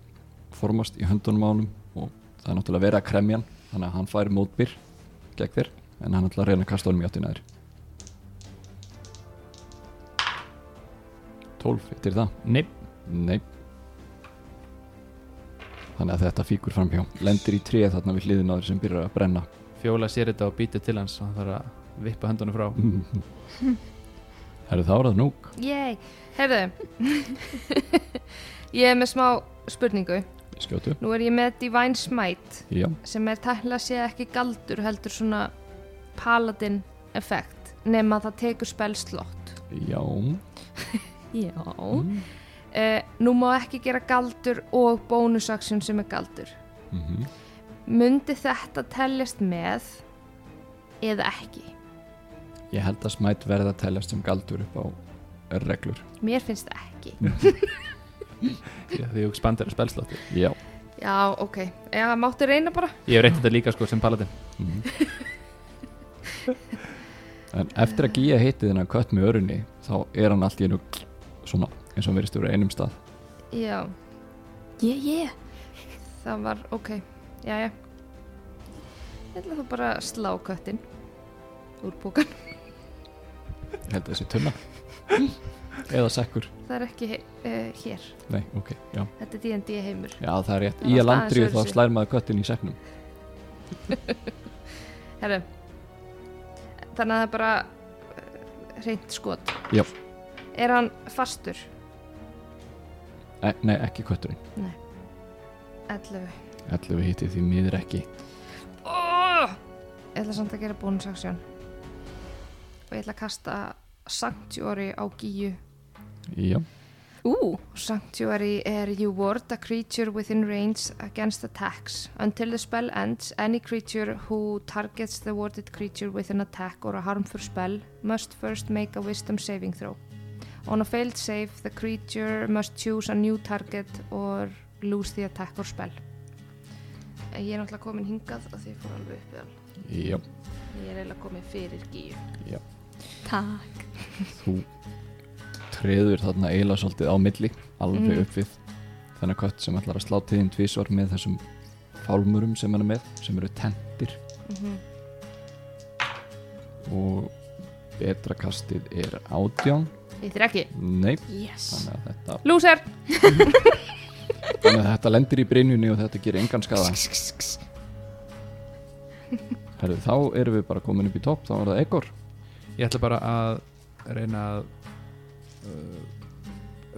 formast í höndunum á honum og það er náttúrulega verið að kremja hann þannig að hann fær mótbyr gegn þér en hann ætlar að reyna að kasta honum í áttina þér 12 hittir það
Nei,
Nei Þannig að þetta fíkur framhjá Lendir í tréð þarna við hliðin á þér sem byrjar að brenna
fjóla sér þetta og býtir til hans og hann þarf að vippa höndunum frá
Herðu þá er það núk
Yay! Herðu, ég er með smá spurningu.
Skjótu
Nú er ég með Divine Smite
Já,
sem er tækla að segja ekki galdur heldur svona paladin effekt nema það tekur spelslott.
já
Já. Mm. Eh, nú má ekki gera galdur og bónusaksjón sem er galdur.
mm
Mundi þetta teljast með eða ekki?
Ég held að smætt verða að teljast sem galdur upp á reglur
Mér finnst það ekki.
því að þú spandir að spelslótti
Já
Já, ok. Já, máttu reyna bara.
Ég hef reynt þetta líka sko sem paladin
Mhm. En eftir að Gíja hitti þennan kött með örunni þá er hann allt í einu svona eins og hann verist úr einum stað
Já,
Yeah, yeah
það var ok. Já, já. Ég ætla þá bara að slá köttin úr bókan.
Ég held að þessi tunna eða sekkur
það er ekki uh, hér
Nei, ok, já,
þetta er D&D heimur
já það er rétt
Það
Í
var
að landrið
aðeins
þá
öðruvísi.
slær maður köttin í seknum
Herru, þannig að það er bara eh, hreint skot
Já.
er hann fastur
e Nei, ekki kötturinn
11
11 hitið því miður ekki
oh! ég ætla samt að gera bónusaksjón og ég ætla að kasta Sanctuary á Gíu
Já,
Ú,
Sanctuary er you ward a creature within range against attacks. Until the spell ends, any creature who targets the warded creature with an attack or a harmful spell must first make a wisdom saving throw. On a failed save, the creature must choose a new target or lose the attack or spell. En Ég er náttúrulega komin hingað og því ég fór alveg upp í hann.
já,
Ég er eiginlega komin fyrir gíu.
takk
þú treður þarna eila svolítið á milli alveg
Mhm.
upp við þennan kött sem ætlar að slá tíðin tvísvar með þessum fálmurum sem hann er með sem eru tentir og betra kastið er átján
Ég þér ekki.
Nei,
Yes
þannig að þetta
Lúser!
Þannig að þetta lendir í brynjunni og þetta gerir engan skada Herðu, þá erum við bara komin upp í topp, þá er það Egor
Ég ætla bara að reyna að uh,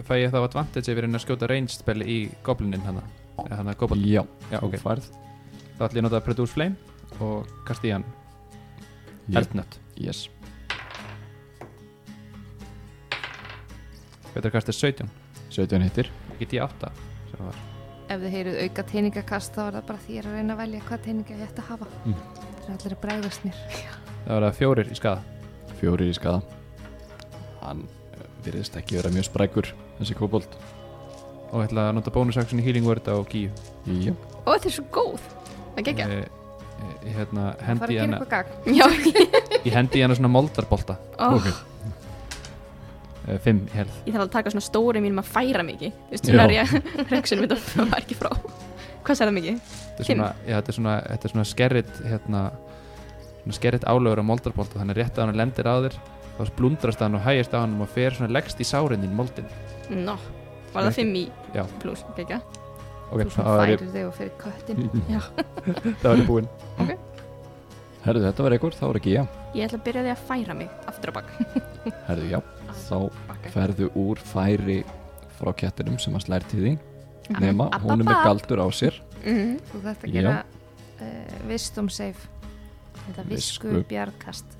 fæ ég þá advantage ef ég reyna að skjóta ranged spell í goblinin hana eða hana goblin
Já,
Já,
þú
ok.
færð
Þá ætla ég að nota Produce Flame og kasta í hann
Já,
eldnött
Yes,
Betra kasta er 17
17 hittir
Ekki 18 sem það var
Ef þið heyrið auka teiningakast þá er það bara þér að reyna að velja hvað teininga ég ætti að hafa.
Mm.
Það er allir að bregðast mér.
Það var það fjórir í skada
Fjórir í skada Hann eh, virðist ekki vera mjög sprækur þessi kobold
og ég ætla að nota bónusaxin í healing word á Gíu
Já,
Ó, þetta er svo góð Það gekk
Eh, eh, Ég hérna
Það fara að
hendi í
gera
hana
eitthvað gagn.
Já,
Ég hendi í hana svona moldarbolta
ó,
eh, Fimm í helð
ég þarf að taka svona stóri mínum að færa mikið Þú veist,
Já.
svona er reaksunum mitt að var ekki frá Hvað sér það mikið?
Þetta er svona, já, þetta er svona, þetta er svona skerrit hérna, svona skerrit álögur á moldarbolta þannig að rétt að hann lendir á þér þá blundrast hann og hægist á hann og fer svona leggst í sárindin moldin
Nó, var það
Ekki.
fimm í
Já.
pluss, ekki?
ok,
Þú svona færir þig og fyrir köttin.
Mm.
það var ég búinn
herðu þetta var Egor, þá er ekki já
Ég ætla að byrja því að færa mig aftur á bak
Herðu, já, þá
Bakka.
ferðu úr færi frá kettinum sem hann slær til þín
Ah,
nema, hún er með galdur á sér
Mhm.
Þú þarft að
Já.
gera uh, vistum safe. Þetta
Visku.
visku bjargkast.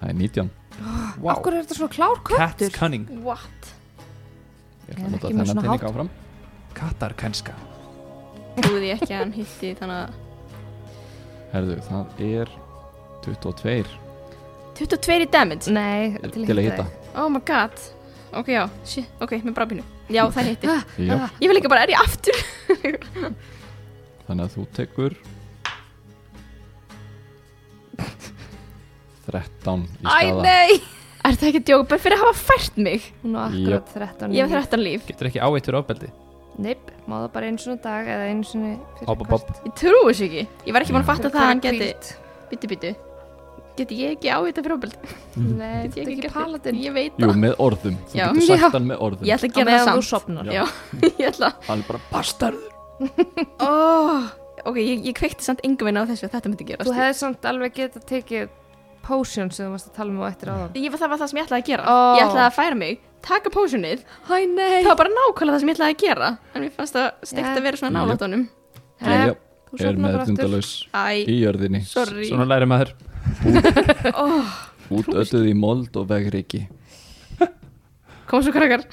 það er 19
Wow. Akkur er þetta svona klár
Cats
köttur?
cunning,
What?
Ég
Ég
ætla
er
að nota
ekki með
þennan
svona
tenning
hátt.
áfram
kattar kannska
Trúði ég ekki að hann hitti þannig að
Herðu, það er 22
22 í damage
Nei,
til, að hitta
þig.
Oh my god Ok, já, shit, ok, með brabinu Já, það hitti
já,
Ah.
Ég vil líka bara er ég aftur
Þannig að þú tekur 13 í
Æ,
skada
nei Er það ekki djók, bara fyrir að hafa fært mig
Hún á akkurat 13.
Ég hef 13 líf
getur ekki áveittur ofbeldi
Neip, má það bara einu svona dag eða einu svona fyrir
Hopp, hopp,
Ég trúi þessu ekki Ég var ekki búin að
Já.
fatta það að hann geti Bitu, bitu Geti ég ekki á þetta fyrir ofbeldi?
Nei,
Get
þetta er
gert
ekki
þetta?
paladin.
Ég veit
Jú,
það
með orðum, þú
Já.
getur
Já.
sagt hann með orðum
Ég ætla að
Á
gera
meðan
það
þú
samt
sopnar.
Já.
Já, ég ætla
Hann er bara bastarður
oh, Ok, ég, ég kveikti samt engum einn á þessu að þetta myndi gerast
Þú hefði samt alveg getað tekið potion sem þú varst að tala um á eftir áðan.
Ég var það var það sem ég ætlaði að gera
Ó.
Ég ætlaði að færa mig, taka pósunið
Hæ, nei.
Það var bara nákvæmlega það sem ég ætlaði að gera En mér fannst það steikt
Já.
að vera svona
Já.
nálægt honum
Jæja,
Jæja,
Þú
er
sofnar bara aftur.
meðtundalaus
Æ,
í jörðinni
sorry
svona læri maður
oh,
Út ötuð í mold og vegriki
Kom svo krakkar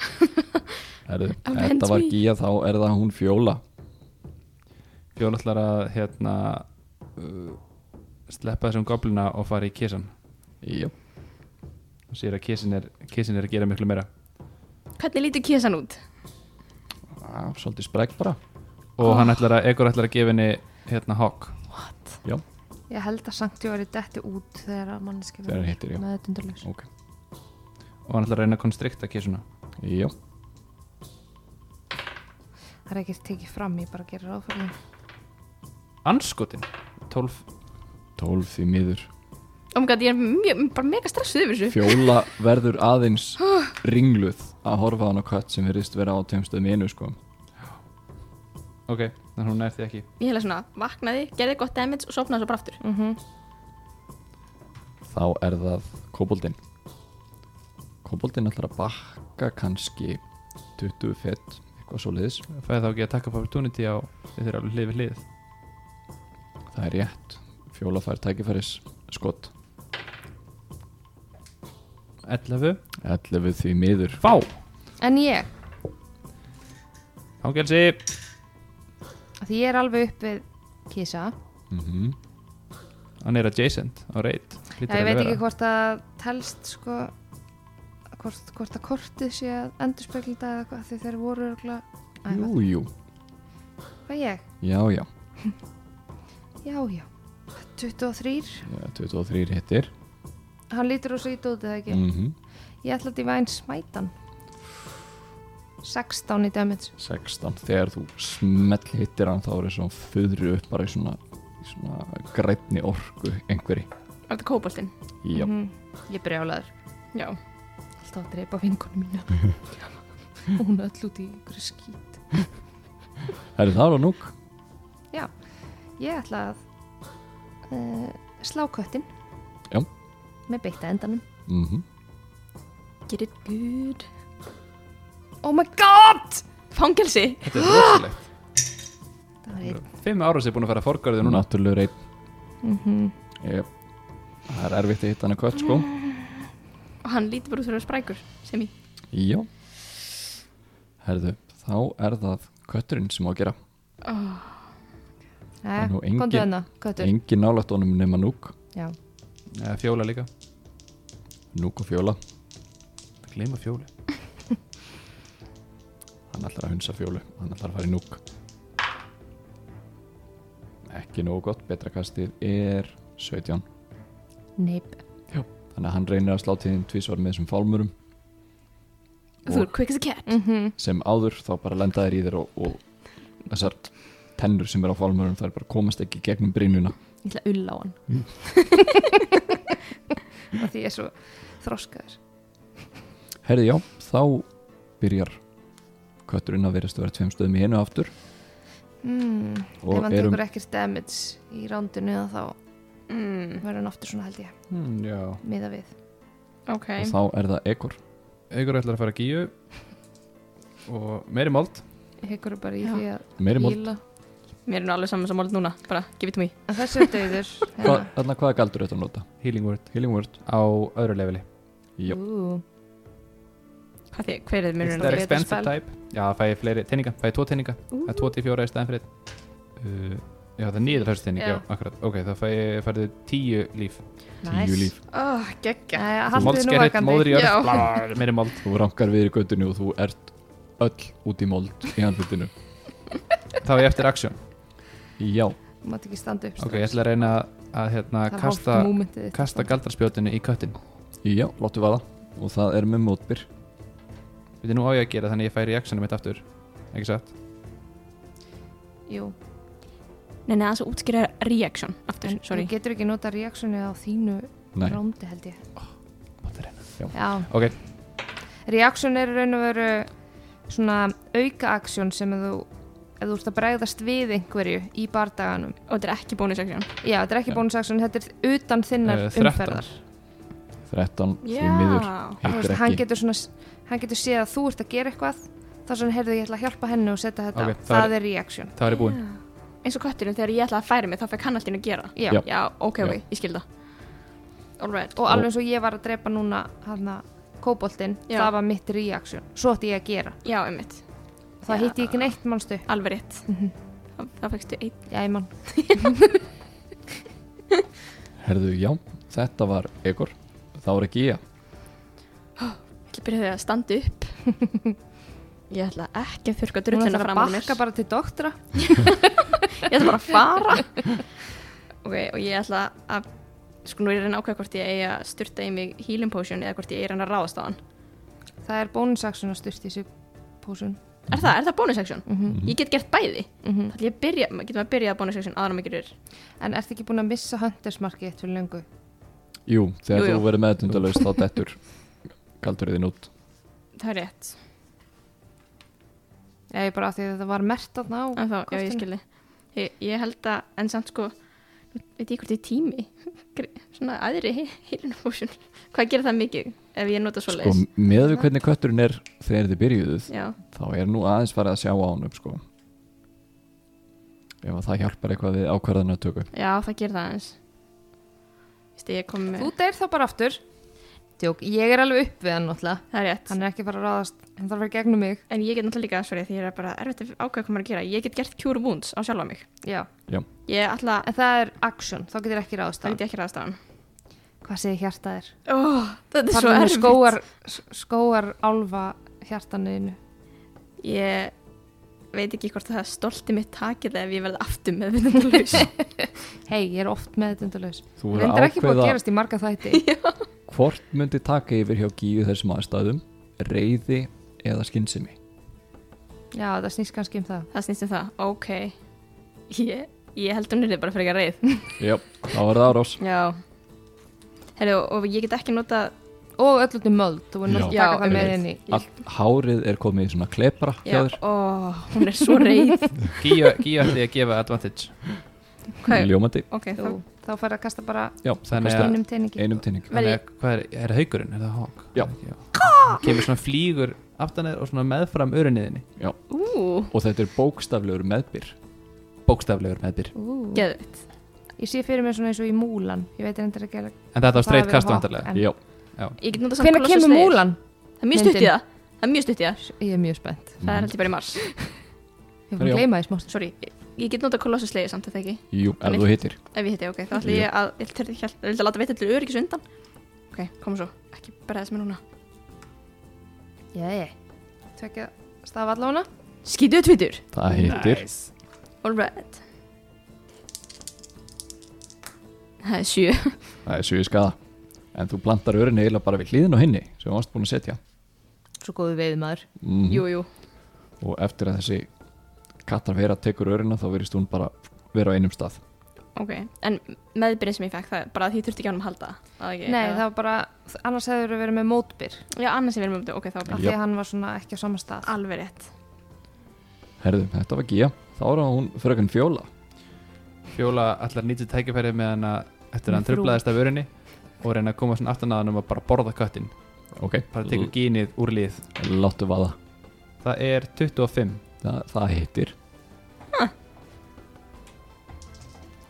Herðu,
Avenge
þetta var
me.
gíja þá er það hún fjóla
fjólallar að hérna uh, sleppa þessum goblina og fara í kissan
Já,
og sér að kissin er, kissin er að gera miklu meira
Hvernig lítur kísan út?
á,
Ah,
svolítið spreg bara
Ah.
og hann ætlar að, ekkur ætlar að gefa henni hérna hawk
Já,
Ég held að sanktjóri detti út þegar að manneski
Þegar hann hittir, já.
meðutundurlaus.
ok
og hann ætlar að reyna að konstrikta kissuna
Já,
Það er ekki tekið fram, ég bara gerir ráð fyrir því.
anskotin 12
12 í miður
Oh my god, ég er mjög, bara mega stressuð yfir þessu
Fjóla verður aðeins ringluð að horfa á hana kött sem verðist vera á tveimstöðum í einu sko
ok, þannig að hún nær því ekki
Ég hefði svona, vaknaði, gerði gott damage og sopnaði svo bara aftur
mm
þá er það koboldin koboldin ætlar að bakka kannski 20 fett eitthvað svo liðis,
fæði þá ekki að taka opportunity á þið þeir alveg hlið við hlið
það er rétt fjóla fær tækifæris skott
11,
11 því miður
fá,
En ég,
fangelsi
af því ég er alveg upp við kisa
mm
hann er adjacent á reit
Já, ég veit ekki hvort að telst sko hvort, hvort að kortið sé að endurspegla þetta eða hvað því þeir voru örgla Æ,
jú,
hvað-
jú,
hvað ég?
já, já
Já, já 23,
Já, 23 hittir
hann lítur og svo ít út eða ekki
mm
Ég ætla að ég væn smætan 16 í damage
16, þegar þú smell hittir hann þá er það svona föðru upp bara í svona, í svona grænni orku einhverji,
Var þetta kóboltinn?
já,
Mhm. Ég brjálaður,
Já
alltaf að dreipa vingunum mína og hún er öll út í einhverju skít
það er það á núk
Ég ætla að uh, slá köttin
Já.
með beitta endanum
mhm
Get it good
Oh my god!
Fangelsi
þetta er rosalegt
Það var einn.
5 ára sér búin að fara forgarði núna
náttúrulega einn Ég- það er erfitt að hitta hann að kött sko
Og hann lítur bara út fyrir að vera sprækur Sem ég
já herðu, þá er það kötturinn sem á að gera
Nei,
nú engin-
komdu hérna, köttur.
engin nálægt honum nema núk
Já.
Eða fjóla líka,
núk og fjóla,
það gleyma fjóli
hann ætlar að hunsa fjólu hann ætlar að fara í núk ekki nógu gott betra kastið er 17
Neip.
þannig að hann reynir að slá tíðin tvísvar með þessum fálmurum
Þú er quick as a cat
Mm -hmm.
sem áður þá bara lenda þér í þér og, og þessar tennur sem er á fálmurum þær bara komast ekki í gegnum brínuna
Ég ætla að ulla á hann. Það því ég er svo þroskaður.
Herði já, þá byrjar kötturinn að verðast að vera tveim stöðum í einu aftur
Mm. Ef
og
hann
erum
tekur ekkert damage í rándinu eða þá
mm.
verður hann aftur svona held ég,
hmm, já
miða við.
Ok
og þá er það ekkur
Eigur ætlar að fara að gíu og meiri mold
Hyggur bara í
Já.
því að
meiri mál,
hýla.
Mér er nú alveg saman sem málið núna Bara, give it to me
En þessi er Hérna. döður.
hvað, þarna hvaða galdur þetta að nota?
healing word
Healing word,
á öðru leveli
já,
Ú,
Hvað þið, hver er þið
It's
munurinn?
the
betra
expensive
spell.
type Já, það fæ ég fleiri teininga, fæ ég tvo teininga Það er tvo til fjóra í staðan fyrir einn. uh, Já, það er nýður hörst teining,
Já.
já, akkurat Ok, það fæ ég færðu tíu líf
tíu líf
Oh, geggja
Næja,
Mold
haldið nú
skerrit,
vakandi.
móður í
Já.
örf, blar, meiri mold
þú rankar við í göttinu og þú ert öll út í mold í handlutinu
Þá er ég eftir action
já,
Þú mátt ekki standa upp.
Ok, ég ætla að reyna að hérna,
að
kasta,
kasta, þitt,
kasta galdraspjótinu í köttin
já, láttu vaða og það er með mótbyr
Við nú á ég að gera þannig að ég færi í actionum mitt aftur Ekki satt?
Jú,
Nei, nei, aðeins að útskýra reaction Aftur,
en
sorry
þú getur ekki nota reaksjónu á þínu
nei,
rándi held ég.
máttu reyna já,
Já.
Ok,
Reaction er í raun og veru svona auka aksjón sem að þú ef þú ert að bregðast við einhverju í bardaganum.
Og þetta er ekki bonus action
Já, þetta er ekki
Já.
bónusaksjón, þetta er utan þinnar
Eh, 13.
umferðar.
13 því miður
Já
Þú
hittir
Veist, hann,
ekki,
getur svona, hann getur séð að þú ert að gera eitthvað þá sem heyrðu ég ætla að hjálpa henni og setja þetta
Ok,
á.
það
Það er reaction.
þá er ég búinn
Eins og kötturinn, þegar ég ætlaði að færa mig Þá fekk hann allt inn að gera
Já.
Já.
Já, ok, ok,
Já.
ég skil það Alright
Og alveg eins og ég var að drepa núna hann að kóboltinn,
Já.
það var mitt reaction. Svo ætti ég að gera.
Já, einmitt,
Þá
Já.
hitti ég ekki neitt mannstu.
alveg rétt
Mhm.
Þá, þá fækstu einn
Já, ég mann.
herðu já þetta var ekkur, þá er ekki ég
Ég ætla að byrja því að standa upp Ég ætla ekki að þurka
Hún
drullina
ætlar að
fram á mér
bakka bara til doktora.
Ég ætla bara að fara Ok, og ég ætla að Sko nú er ég að reyna að ákveða hvort ég eigi að styrta í mig healing potion eða hvort ég eigi að reyna að ráðast á hann
Það er bónusaksjón að styrta í sig pósun.
Er það, er það bonus action?
Mhm.
Ég get gert bæði
Mhm.
Það ég að byrja, getur maður að byrja að bonus action aðra maður gerir
En ertu ekki búin að missa Hunters markið eitt fyrir löngu?
Jú, þegar
Jú, jú.
þú verður meðtundalaust þá dettur galdur þinn út
það er rétt
Já, ég bara af því að þetta var mert þarna á
en þá, já ég
kortinu.
skilði ég, ég held að, en samt sko veit ég hvort ég tími Gre- svona aðri heilunumósjun hvað gerir það mikið ef ég nota svo
Sko, með við hvernig kötturinn er þegar þið byrjuðuð
já,
þá er nú aðeins farið að sjá á honum sko. ef að það hjálpar eitthvað við ákvarðanatöku
já það gerir það eins Vist, ég kom með,
Þú deyr þá bara aftur Tjók, ég er alveg upp við hann náttúrulega
það er rétt
Hann er ekki fara að ráðast, hann þarf að vera í gegnum mig
en ég get náttúrulega líka sorry, því ég er bara erfitt að ákveða hvað maður að gera ég get gert cure wounds á sjálfa mig
Já,
ég ætla,
en það er action, þá getur ekki ráðast á
það
hann
get ég ekki ráðast á hann
Hvað segir hjartað þér?
oh, þetta
Farðu
er svo
með
erfitt
skógar, skógar álfa hjartanuðinu
ég veit ekki hvort það stolti mitt takið ef ég verði aftur með vinnundaljus
Hei, ég er oft með þetta undalus
þú
Það
verður
er
að
ekki búið að
ákveða
gerast í marga þætti
hvort myndi taka yfir hjá gíu þessum aðstæðum reyði eða skynsemi
Já, það snýst kannski um það
það snýst um það, ok ég, ég held hún er bara fyrir ekki að reið
já, þá er það árás
já Heru, og ég get ekki nota
Og öllutum möld, þú
Já.
er náttúrulega að taka það
Já,
með
einmitt.
inn í
allt hárið er komið í svona klepra hjá
já,
þér
ó, hún er svo reið
Gíu gíu ætti ég að gefa advantage
Hvað-
ljómandi,
ok, þá
Þú, Þá færðu að kasta bara
já,
Þannig
kostar
að-
einum teiningi
einum tinning
Vel
Þannig að hvað er, er haukurinn, er það hawk?
Já.
Ekki, Kemur svona flýgur aftan er og svona meðfram örinniðinni
ú,
og þetta er bókstaflegur meðbyr
Bókstaflegur meðbyr
Ú.
geðvitt
Ég sé fyrir mér svona eins og í múlan Ég veit endur að gera
En þetta var
það að
streitt
vera
kast
hoppa,
vantarlega
en-
já,
ég get nota samt
Hvenær
Colossus
kemur
Lair.
múlan?
það er mjög stutt í
Myndin.
það það er mjög stutt í það
Ég er mjög spennt
það er alltaf bara í mars
Ég fór að
Já.
gleyma því smátt
sorry, ég- ég get nota kolossuslegi samt að það ekki
jú, ef
Þannig.
þú hittir
ef ég hitti, ok, þá ætla ég að ég ætla- ég ætla- ég ætla að láta veit allir öryggis undan ok, kom svo, ekki bara þess með núna
Jæja Tvekja stafa allána
skýtuðu tvítur
það hittir,
Alright Það er sjö
Mhm.
það er sjöðu skada en þú plantar örinni eiginlega bara við hlýðin og hinni sem þú varst búin að setja
Svo góðu veið maður
mm
Jú, jú
og eftir að þessi kattarvera tekur örina þá verist hún bara vera á einum stað
Ok, en meðbyrðin sem ég fekk það er bara að því þurfti ekki á hann að halda það ekki,
Nei,
eða-
það var bara Annars hefur verið með mótbyr
Já, annars sem við erum um þetta, ok, þá er
Af
bara
því að hann var svona ekki á sama stað
alveg rétt
herðu, þetta var Gía, þá er hún frökun Fjóla
Fjóla allar nýtið tækifærið með hann að eftir að hann
Frú.
trublaðist af örinni og reyna að koma svona aftan að hann um að bara borða köttin
ok,
bara tekur gínið úr lið
láttu vaða
það er 25
það, það hittir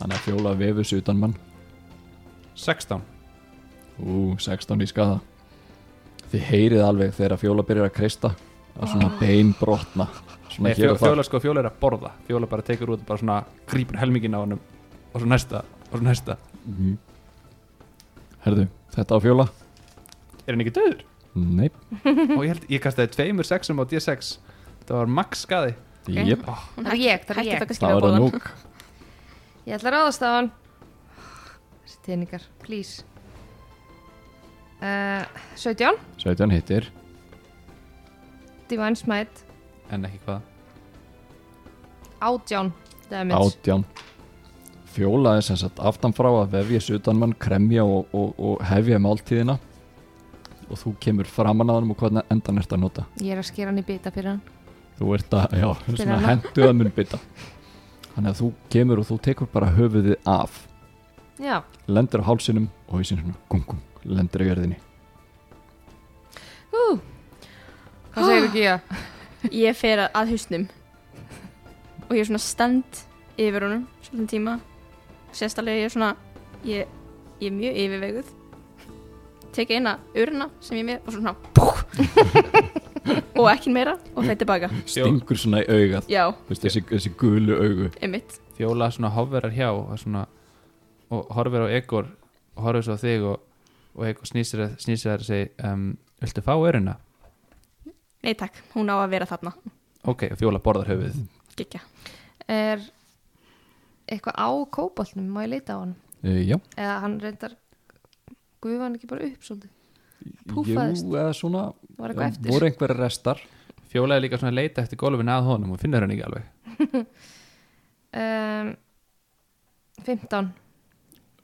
þannig að Fjóla vefur sig utan mann
16
ú, 16 í skada þið heyrið alveg þegar Fjóla byrjar að kreista að svona bein brotna svona
Nei,
hér
fjó,
og þar
fjóla sko, fjóla er að borða fjóla bara tekur út og bara svona grípur helmingin á hann og svo næsta, og svo næsta
Mhm. herðu, þetta á Fjóla
er hann ekki döður?
nei,
og ég held, ég kastaði tveimur sexum á D6 það var max skadi
okay. jöp,
Hún
Það er ég, það er
hætti
ég.
það kannski
það
við að
var það
borða
núk
Ég ætla að ráðast á hann Þessi teiningar, please uh, 17
17 hittir
Divine Smite
en ekki hvað
18 Damage
átján fjóla er sem sagt aftanfrá að vefja sutanmann, kremja og, og, og hefja máltíðina og þú kemur framan að hann og hvernig endan ert að nota
Ég er að skera hann í bita fyrir hann
þú ert að, já, svona
hana.
henduða munnbytta þannig að þú kemur og þú tekur bara höfuðið af
Já,
lendir á hálsinum og hausinn svona gung, gung, lendir á jörðinni
hú Hvað segir þú Gía?
Ég fer að- að hausnum og ég er svona stend yfir honum svolítið tíma sérstaklega ég er svona ég, ég er mjög yfirveguð teka eina urina sem ég er með og svona búk, og ekki meira og þetta tilbaka
stingur svona í augað
já,
þú veist, þessi, þessi gulu augu
einmitt
fjóla svona hofverar hjá og, svona, og horfir á Egor og horfir svo á þig og, og Egor snýsir að snýsir að segja um, viltu fá öruna?
nei takk, hún á að vera þarna
ok, og fjóla borðar höfuð
Gekja.
Er eitthvað á kóboltnum? Má ég leita á hann?
uh, já,
Eða hann reyndar gufa hann ekki bara upp svolítið? Púffaðist.
jú, eða svona
Það var eitthvað eftir
voru einhverja restar
fjóla er líka svona að leita eftir golfin að honum og finnur hann ekki alveg
um, 15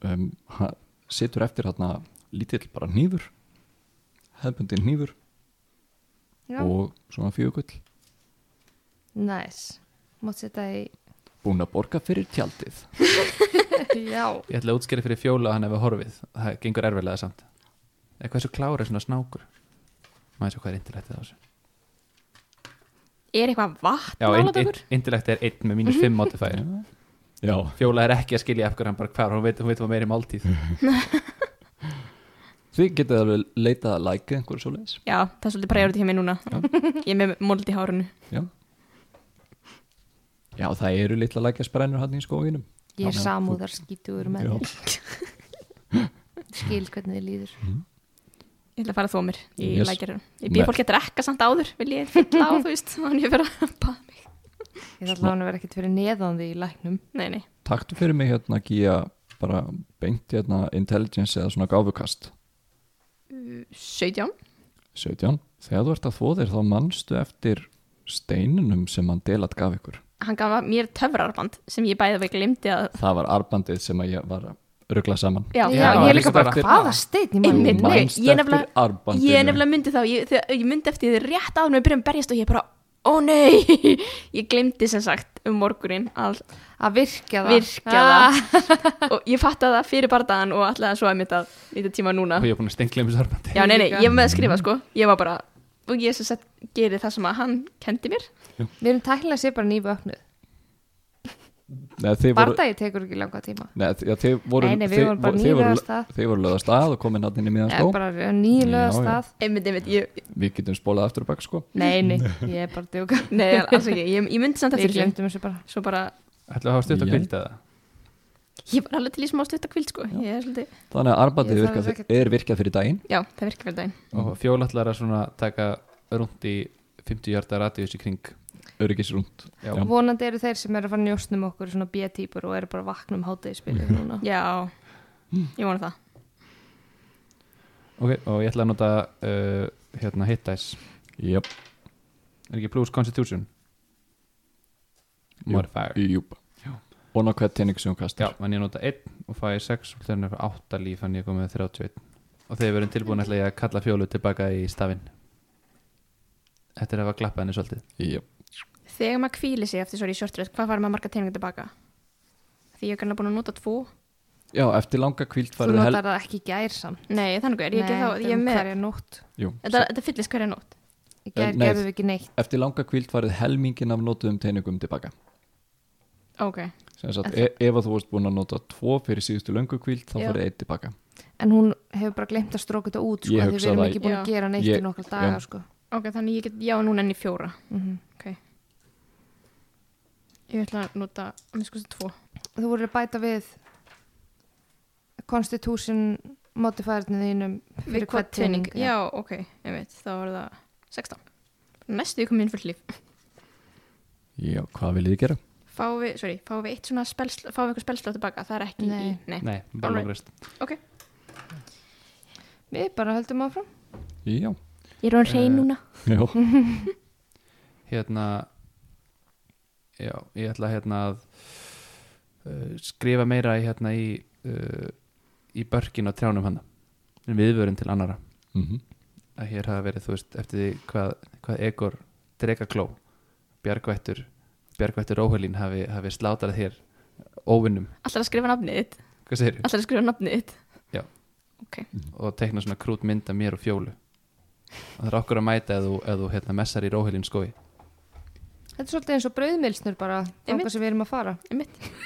um, ha, situr eftir hérna lítill bara hnífur hefðbundin hnífur
Já,
og svona fjögull
næs. Mátt setja í,
búin að borga fyrir tjaldið
já,
Ég ætla að útskýra fyrir fjóla að hann hefur horfið Það gengur erfiðlega samt Eða hversu klára er svona snákur Maður sé hvað er intellektið á þessu
Er eitthvað vatn
Já,
nálægt
in-
okkur?
in- intellektið er 1 með mínus 5 modifier
já,
Fjóla er ekki að skilja eftir hann bara hvar Hún veit, hún veit hvað meiri máltíð
þið getið alveg leitað að læka einhverju svo leiðis
Já, það er svolítið priority hjá mér núna Ég er með mold í hárunu
já. já, það eru litla lækja sprennur hann í skóginum
ég er
Já,
samúðar skítugur með
Já.
þér. Skil hvernig þið líður.
Mm.
Ég ætla að fara þó mér í
Yes.
yes. Ég býð
Nei.
fólki að drekka samt áður Vil ég fylla á, þú veist Þannig ég fyrir að baða mig
Ég ætla hann að vera ekkert fyrir neðan því í læknum.
Nei, nei,
taktu fyrir mig hérna Gía bara beint hérna intelligence eða svona gáfukast
17
17. Þegar þú ert að þvo þér þá manstu eftir steininum sem hann delat gaf ykkur.
Hann gaf mér töfrarband sem ég bæði við glimti að
Það var arbandið sem að ég var að ruggla saman.
Já,
Já,
Já,
ég
ég
er líka
líka
bara,
bara-
hvaða stein í manni?
Einmitt.
Þú manst
Ég- ég
eftir
nefnilega-
arbandinu.
Ég nefnilega myndi þá, ég, þegar, ég myndi eftir því rétt áður en við byrjum að berjast og ég bara, ó nei, ég glemdi sem sagt um morgunin all,
Að virkja það.
virkja
Ah,
það og ég fatta það fyrir bardaðan og alltaf svo að mitt að mitt tíma núna.
Og ég er búin að stengla um þessu arbandi
Já, nei, nei,
Líka.
ég var með að skrifa sko, ég var bara, og ég sem sagt gerir það sem að hann kendi mér.
Við erum tæknilega sér bara nýbu öknuð.
Nei, þið voru,
Bardagi tekur ekki langa tíma.
nei, þið- já, þið voru,
Nei, nei, við
þið-
vorum bara
þið voru-
nýlega af stað.
Þið voru löða stað og komin hann inn í miðan
Ég er
stó.
bara nýlega
Já, já.
stað.
Einmitt, einmitt, ég,
Við getum spólað aftur og bak sko.
Nei, nei, ég er bara að djóka.
nei, alls ekki, ég, ég myndi samt
Við
eftir því.
glemdum þessu bara.
Svo bara,
Ætla að hafa stutt og
Já.
kvilt eða
ég var alveg til í smá stutta kvild sko, ég er svolítið,
Þannig að arbandið
Ég
virka,
þarf ekkert-
er virkað fyrir daginn.
já, það virkar vel daginn.
Mhm.
Og fjóla ætlar að svona taka rúnt í 50 hjarta radius í kring
Öryggis rúnd.
Já,
Já.
Vonandi eru þeir sem eru að fara að njósnum okkur svona B-típur og eru bara að vakna um
Mhm.
hátegisbilið núna.
Já, ég vona það.
Ok, og ég ætla að nota uh, hérna hit dice
Jáp,
Er ekki plus constitution?
Jú.
Modifier
júp. Og ná hvert tenning sem hún
Já,
kastar.
en ég nota 1 og fæ 6 og þannig að 8 líf þannig að ég kom með 31 og þegar við erum tilbúin ætla ég að kalla fjólu tilbaka í stafinn Þetta er að hafa glappað henni svolítið
Jáp.
Þegar maður kvíli sig eftir sorry short rest, hvað fara maður marga teiningar tilbaka? Því ég er kannski búin að nota tvo.
Já, eftir langa kvíld
Þú
farið
notar það ekki í gær samt. um
Nei, þannig er ég ekki þá, ég er með
Hverja nótt.
Jú,
Þetta, þetta fyllist hverja nótt.
Í gær
Nei.
gerðum við ekki neitt.
eftir langa kvíld farið helmingin af notuðum teiningum tilbaka
Ok.
sem sagt, e ef að þú varst búin að nota tvo fyrir síðustu löngu kvíld þá
Já.
farið eitt tilbaka
En hún hefur bara glemt að stróka þetta út sko.
Ég
Því við
hugsa
erum
það-
ekki búin að
Já.
gera neitt
Ég-
í nokkra
já.
daga sko.
Ok, þannig ég get, já, núna enn í fjóra.
Mhm.
Ok. Ég ætla að nota, að mér sko þetta tvo.
Þú voru að bæta við Constitution modifierinu þínum fyrir
Við hvað
hvað teining.
Já, ok, ég veit, þá var það 16. Næstu ég kom inn fyrir líf.
Já, hvað viljið þið gera?
Fá við, sorry, fá við eitt svona spelsl, fá við eitthvað spelslá tilbaka, það er ekki
Nei.
í, nei.
Nei, bara
Eh. Alright.
langur rest
Ok.
Við bara höldum áfram.
Já,
Ég er á hrein
Eh,
núna.
já,
Hérna Já, ég ætla hérna að uh, skrifa meira í hérna í uh, í börkin á trjánum hana en viðvörun til annara
mm
að hér hafa verið, þú veist, eftir því hvað, hvað Egor Drekakló Bjargvættur, Bjargvættur Óhölín hafi, hafi slátarað hér óvinnum,
Alltaf að skrifa nafnið þitt.
hvað segir
Alltaf að skrifa nafnið þitt.
og teikna svona krút mynda mér og fjólu og það er okkur að mæta eða þú, eð þú hérna, messar í Róhölín skói
Þetta er svolítið eins og brauðmilsnur bara.
Einmitt.
Þangað sem við erum að fara.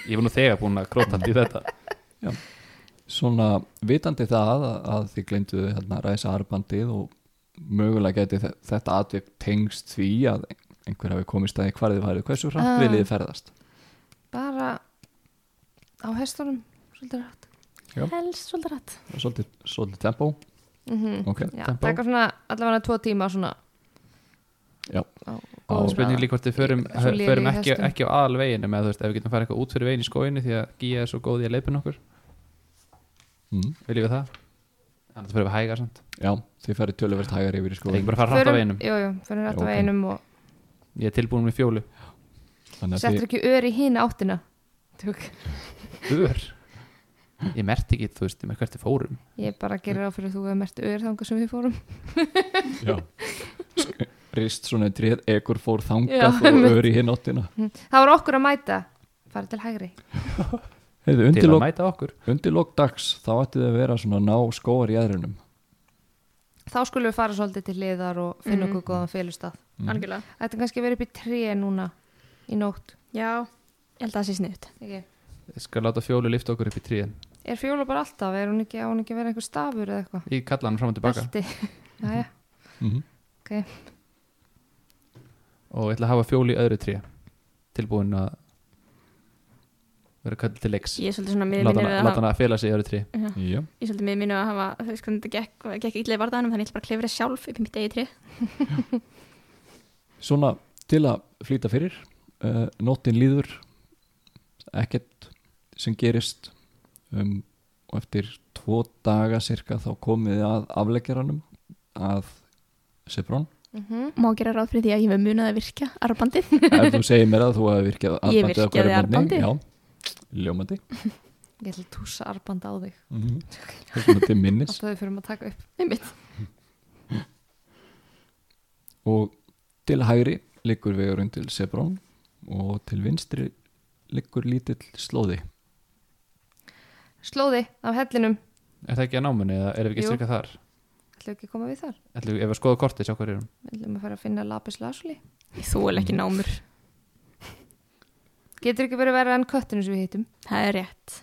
ég var nú þegar búin að króta allt í þetta
Svona vitandi það að, að þið glemdu hérna ræsa arbandið og mögulega geti þe- þetta atvik tengst því að einhver hafi komið staði hvar þið værið, hversu hratt
Ah.
viljið þið ferðast?
Bara á hestunum. Svolítið rætt.
Já.
Helst svolítið rætt.
Svolítið, svolítið tempó,
Mm -hmm.
ok,
Já,
Tempó.
taka svona allavega tvo tíma svona
já,
á
Á-
góðum
spurning
hraða.
líka hvort við förum,
Svo lélegir
förum ekki,
hestum.
ekki á aðalveginu með þú veist, ef við getum farið eitthvað út fyrir veginn í skóinu því að Gía er svo góð í að leipin okkur
mm,
viljum við það? annars fyrir við hægar samt
já, þið ferðið töluvert hægar yfir í
það er
skóðin
ekki bara að fara hratt á
Förum-
veginum
Jú, jú, fyrir
Já,
rætt á
ok.
veginum og
ég er tilbúin með fjólu
Þannig að
settur
þið,
ekki ör í hína áttina Tök.
Ör? ég merti ekki, þú veist, ég merti hvert þið fórum
Ég bara gerir á fyrir að þú hefur mert öður þanga sem við fórum.
Já Rist svona í tréð, ekkur fór
Já,
þangað og
einmitt.
öður í hinn áttina
Það var okkur að mæta. Fara til hægri.
Heiðu,
til að
undirlok,
mæta okkur
undirlok dags þá ætti þau að vera svona að ná skóar í aðrinum
Þá skulum við fara svolítið til liðar og finna
Mhm.
Mm.
okkur góðan félustaf.
algjörlega
Þetta er kannski verið upp í tré núna í nótt.
já, ég held að það sé sniðt
Ekki?
ég skal láta fjólu lifta okkur upp í tríðin
Er fjóla bara alltaf? Er hún ekki, á hún ekki að vera einhver stafur eða eitthvað?
ég kalla hann fram og tilbaka
Belti. Jæja,
mm -hmm.
og ég ætla að hafa fjólu í öðru trí tilbúin að vera kallið til leiks
ég er svolítið svona
láta
miðminni
hann- láta hann að fela sig í öðru trí
Já.
Já,
ég er svolítið með mínu að hafa þú veist hvernig þetta gekk, gekk illa í vardaðanum þannig ég ætla bara að klefra sjálf upp í mitt eigi trí
svona til að flýta fyrir uh, nóttin líður ekkert sem gerist um, og eftir tvo daga cirka þá komið þið að afleggjaranum að Sefrón
má gera ráð fyrir því að ég hef munið að virka arbandið
ef þú segir mér að þú hefði virkjað armbandið
Ég
á
virkjaði
hverjum morgni.
armbandið.
já, ljómandi
ég ætla að túsa arbanda á þig.
mm svona til minnis
Alltaf við fyrir að taka upp.
einmitt
og til hægri liggur vegurinn til Sefrón og til vinstri liggur lítill slóði
Slóði af hellinum.
er það ekki að námunni eða erum við ekki
Jú.
cirka þar
Ætlum við ekki að koma við þar?
Ætlum, við- ef við skoðum kortið sjá hver erum
Ætlum við að fara að finna lapis lasuli?
þú er
Mm.
ekki námur
Getur ekki verið verið enn köttinu sem við hittum?
það er rétt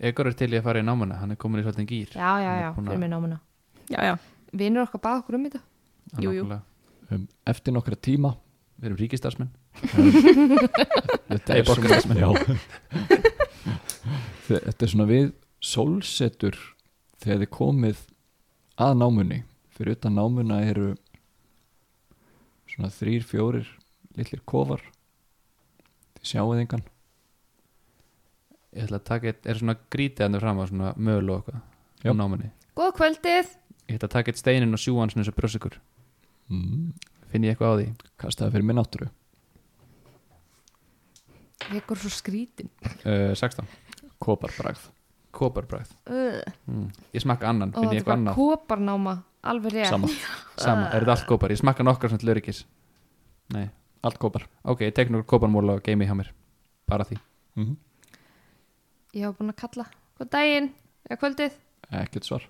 Egor er til í að fara í námunni, hann er komin í svolítið gýr
Já, já,
Hann er
já,
búin að-
fyrir mig námuna.
já, já
Vinur okkar bað okkur um þetta.
Hann
Jú, jú.
nákvæmlega-
um, eftir nokkra tíma
við erum ríkistarsmenn
þetta
Nei,
er svona
borgarasmenn.
já. Þe- þetta er svona við sólsetur þegar þið komið að námunni fyrir utan námuna eru svona þrýr, fjórir litlir kofar þið sjáuð engan
ég ætla að taka, eitt- er svona grítið hann fram á svona möl og
Já.
eitthvað á námunni
Góð kvöldið!
ég ætla að taka eitt steinin og sjú hans eins og brjósikur
mm,
finn ég eitthvað á því
kastaði fyrir minn átturu
Vekur svo skrítin.
Eh,
uh, 16,
koparbragð
kóparbræð
Uh,
mm. ég smakka annan,
og
finn
þetta
ég eitthvað
var
annað
koparnáma, alveg rétt.
sama,
sama,
Ah.
er þetta allt kópar, ég smakka nokkar svona til öryggis nei,
allt kopar
ok, ég tek nokkur kóparmóla og geimi hjá mér bara því,
mm,
Ég hafa búin að kalla. Góð daginn, eða kvöldið.
ekkert svar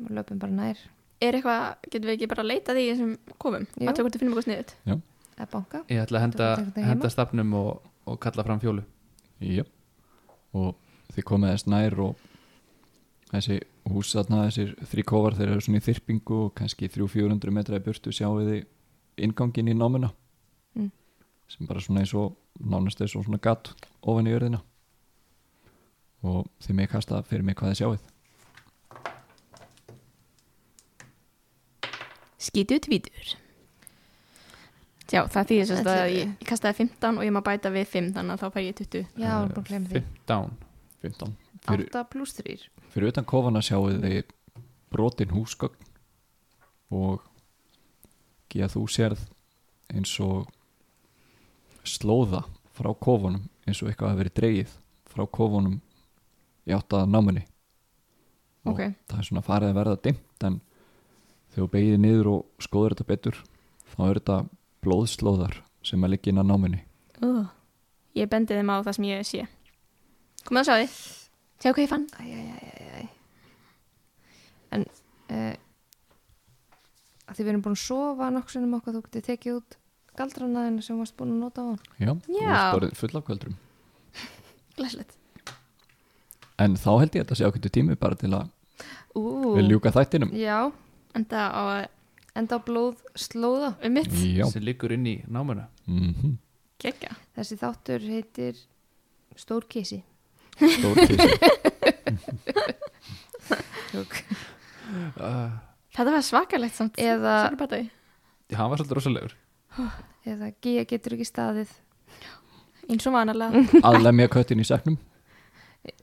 Við löpum bara nær.
er eitthvað, getum við ekki bara að leita því sem komum,
Jú.
að hvort við finnum eitthvað sniðut
Eða banka.
ég ætla að henda,
Þú ert ekki heima?
henda stafnum og, og kalla fram fjólu
Jöp. og þið komið þess nær og þessi hús þarna, þessir þrý kofar þeir eru svona í þyrpingu og kannski 300-400 metra í burtu sjáu þið ingangin í námuna
Mm.
sem bara svona eins og nánast eins og svona gatt ofan í örðina og þið með kasta fyrir mig hvað þið sjáuð
skítu tvítur já, það þýðir sem sagt
Ætli-
að ég, ég kastaði 15 og ég má bæta við 5 þannig að þá fær ég 20
Já, við
Eh,
erum búin að glemja því.
15,
15. Fyrir,
8 pluss 3.
fyrir utan kofana sjáuð þið brotin húsgögn og ekki að þú sérð eins og slóða frá kofunum eins og eitthvað hafi verið dreigið frá kofunum í átt að námunni og
Ok.
það er svona farið að verða dimmt en þegar þú beigir niður og skoður þetta betur þá eru þetta blóðslóðar sem að liggja inn að námunni
uh. ég bendi þeim á það sem ég sé komið að sjá því sjá hvað ég fann
Æjæjæjæjæj. En, uh, að því við erum bún að sofa nokksunum okkar, þú getið tekið út galdranaðina sem þú varst búin að nota á hann.
Já, þú
Já.
ert orðin full af kvöldrum
glæslegt
en þá held ég að þetta sé ákvöndu tími bara til að
Ú,
við ljúka þættinum
já,
en það á að-
enda á blóð slóða.
um mitt
Já,
sem liggur inn í námuna
mm -hmm.
gegga
Þessi þáttur heitir Stórkísi.
stór kísi
uh,
þetta var svakalegt samt
Eða-
Sorry, Baddi.
hann var svolítið rosalegur
Eða Gía getur ekki staðið.
eins og vanalega
að lemja köttin í seknum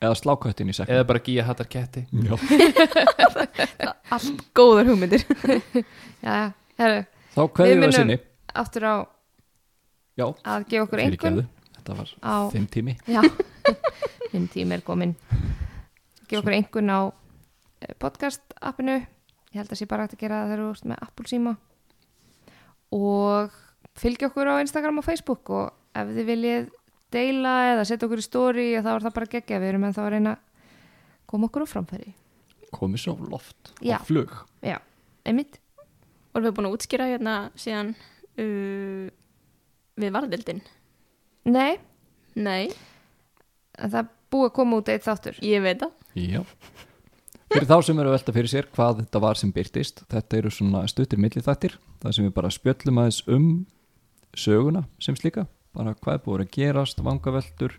eða slá köttin í seknum
eða bara gíja hattar ketti
Já.
allt góðar hugmyndir
Já, herru,
þá kveðum
Við
við að
munum-
sinni
aftur á
Já,
að gefa okkur
fyrirgefðu.
einhvern
þetta var
á...
þinn tími
Já, minn tími er komin gefa okkur einhvern á eh, podcast appinu ég held að sé bara hægt að gera það þegar þú ert með Apple síma og fylgja okkur á Instagram og Facebook og ef þið viljið deila eða setja okkur í story þá er það bara geggja, við erum en þá að reyna að koma okkur á framfæri
komið svo á loft
Já.
og flug
já, einmitt,
og við erum búin að útskýra hérna síðan uh, við varðildin
nei
nei,
en það er búið að koma út eitt þáttur
ég veit það
Já. Fyrir þá sem eru að velta fyrir sér hvað þetta var sem byrtist, þetta eru svona stuttir millithættir, það sem við bara spjöllum aðeins um söguna sem slíka, bara hvað er búið að gerast, vangaveltur,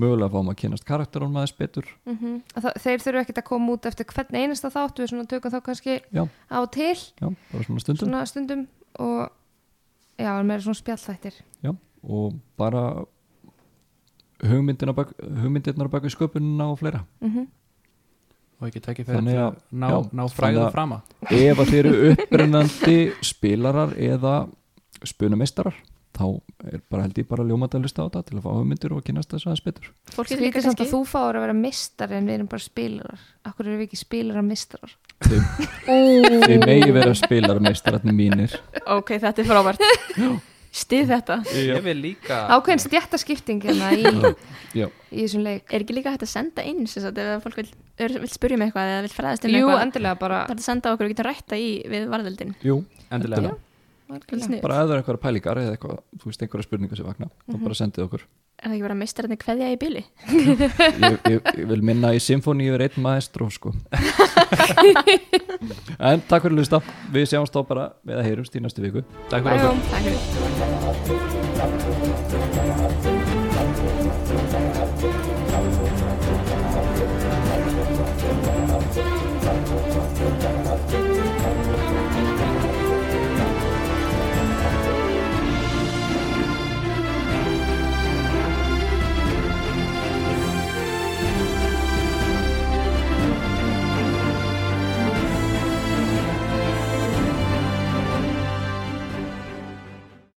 mögulega fáum að kynast karakterunum aðeins betur.
mm -hmm. þeir þurfu ekkert að koma út eftir hvern einasta þátt við svona tökum þá kannski
Já,
á og til
já, bara svona stundum.
svona stundum og já, en meira svona spjallþættir
Já, og bara hugmyndina bak, hugmyndirnar baki sköpunina og fleira.
mm
og ekki tækja fyrir
Þannig
til
að-
að ná,
já,
ná
þannig
fræðu
að-
frama
Ef að þeir eru upprennandi spilarar eða spunameistarar, þá er bara held ég bara ljómandi að lista á þetta til að fá hugmyndir og kynast þess aðeins betur.
fólk getur líka
Skrítið samt
kannski
að þú fáur að vera mistar en við erum bara spilarar Akkur erum við ekki spilarar mistarar
Þið, þið megi vera spilarmeistararnir mínir
ok, þetta er frábært stið þetta
ég vil líka
Ah.
Ákveðin stjættaskipting hérna í,
Já,
í þessum leik
er ekki líka hægt að senda inn sem sagt, ef fólk vil, er, vil spyrja um eitthvað eða vil fræðast um
Jú,
eitthvað
endilega bara
það er að senda okkur og geta rætta í við varðildin
jú,
endilega
Svolítið sniðugt.
bara ef það er einhverja pælingar eða eitthvað, þú veist einhverja spurningar sem vakna þá bara sendið okkur
er það ekki bara meistararnir kveðja í byli
ég, ég, ég vil minna í symfóni yfir einn maestro sko En takk fyrir að hlusta Við sjáumst þá bara með að heyrumst í næstu viku
takk fyrir okkur
Bæjum
takk fyrir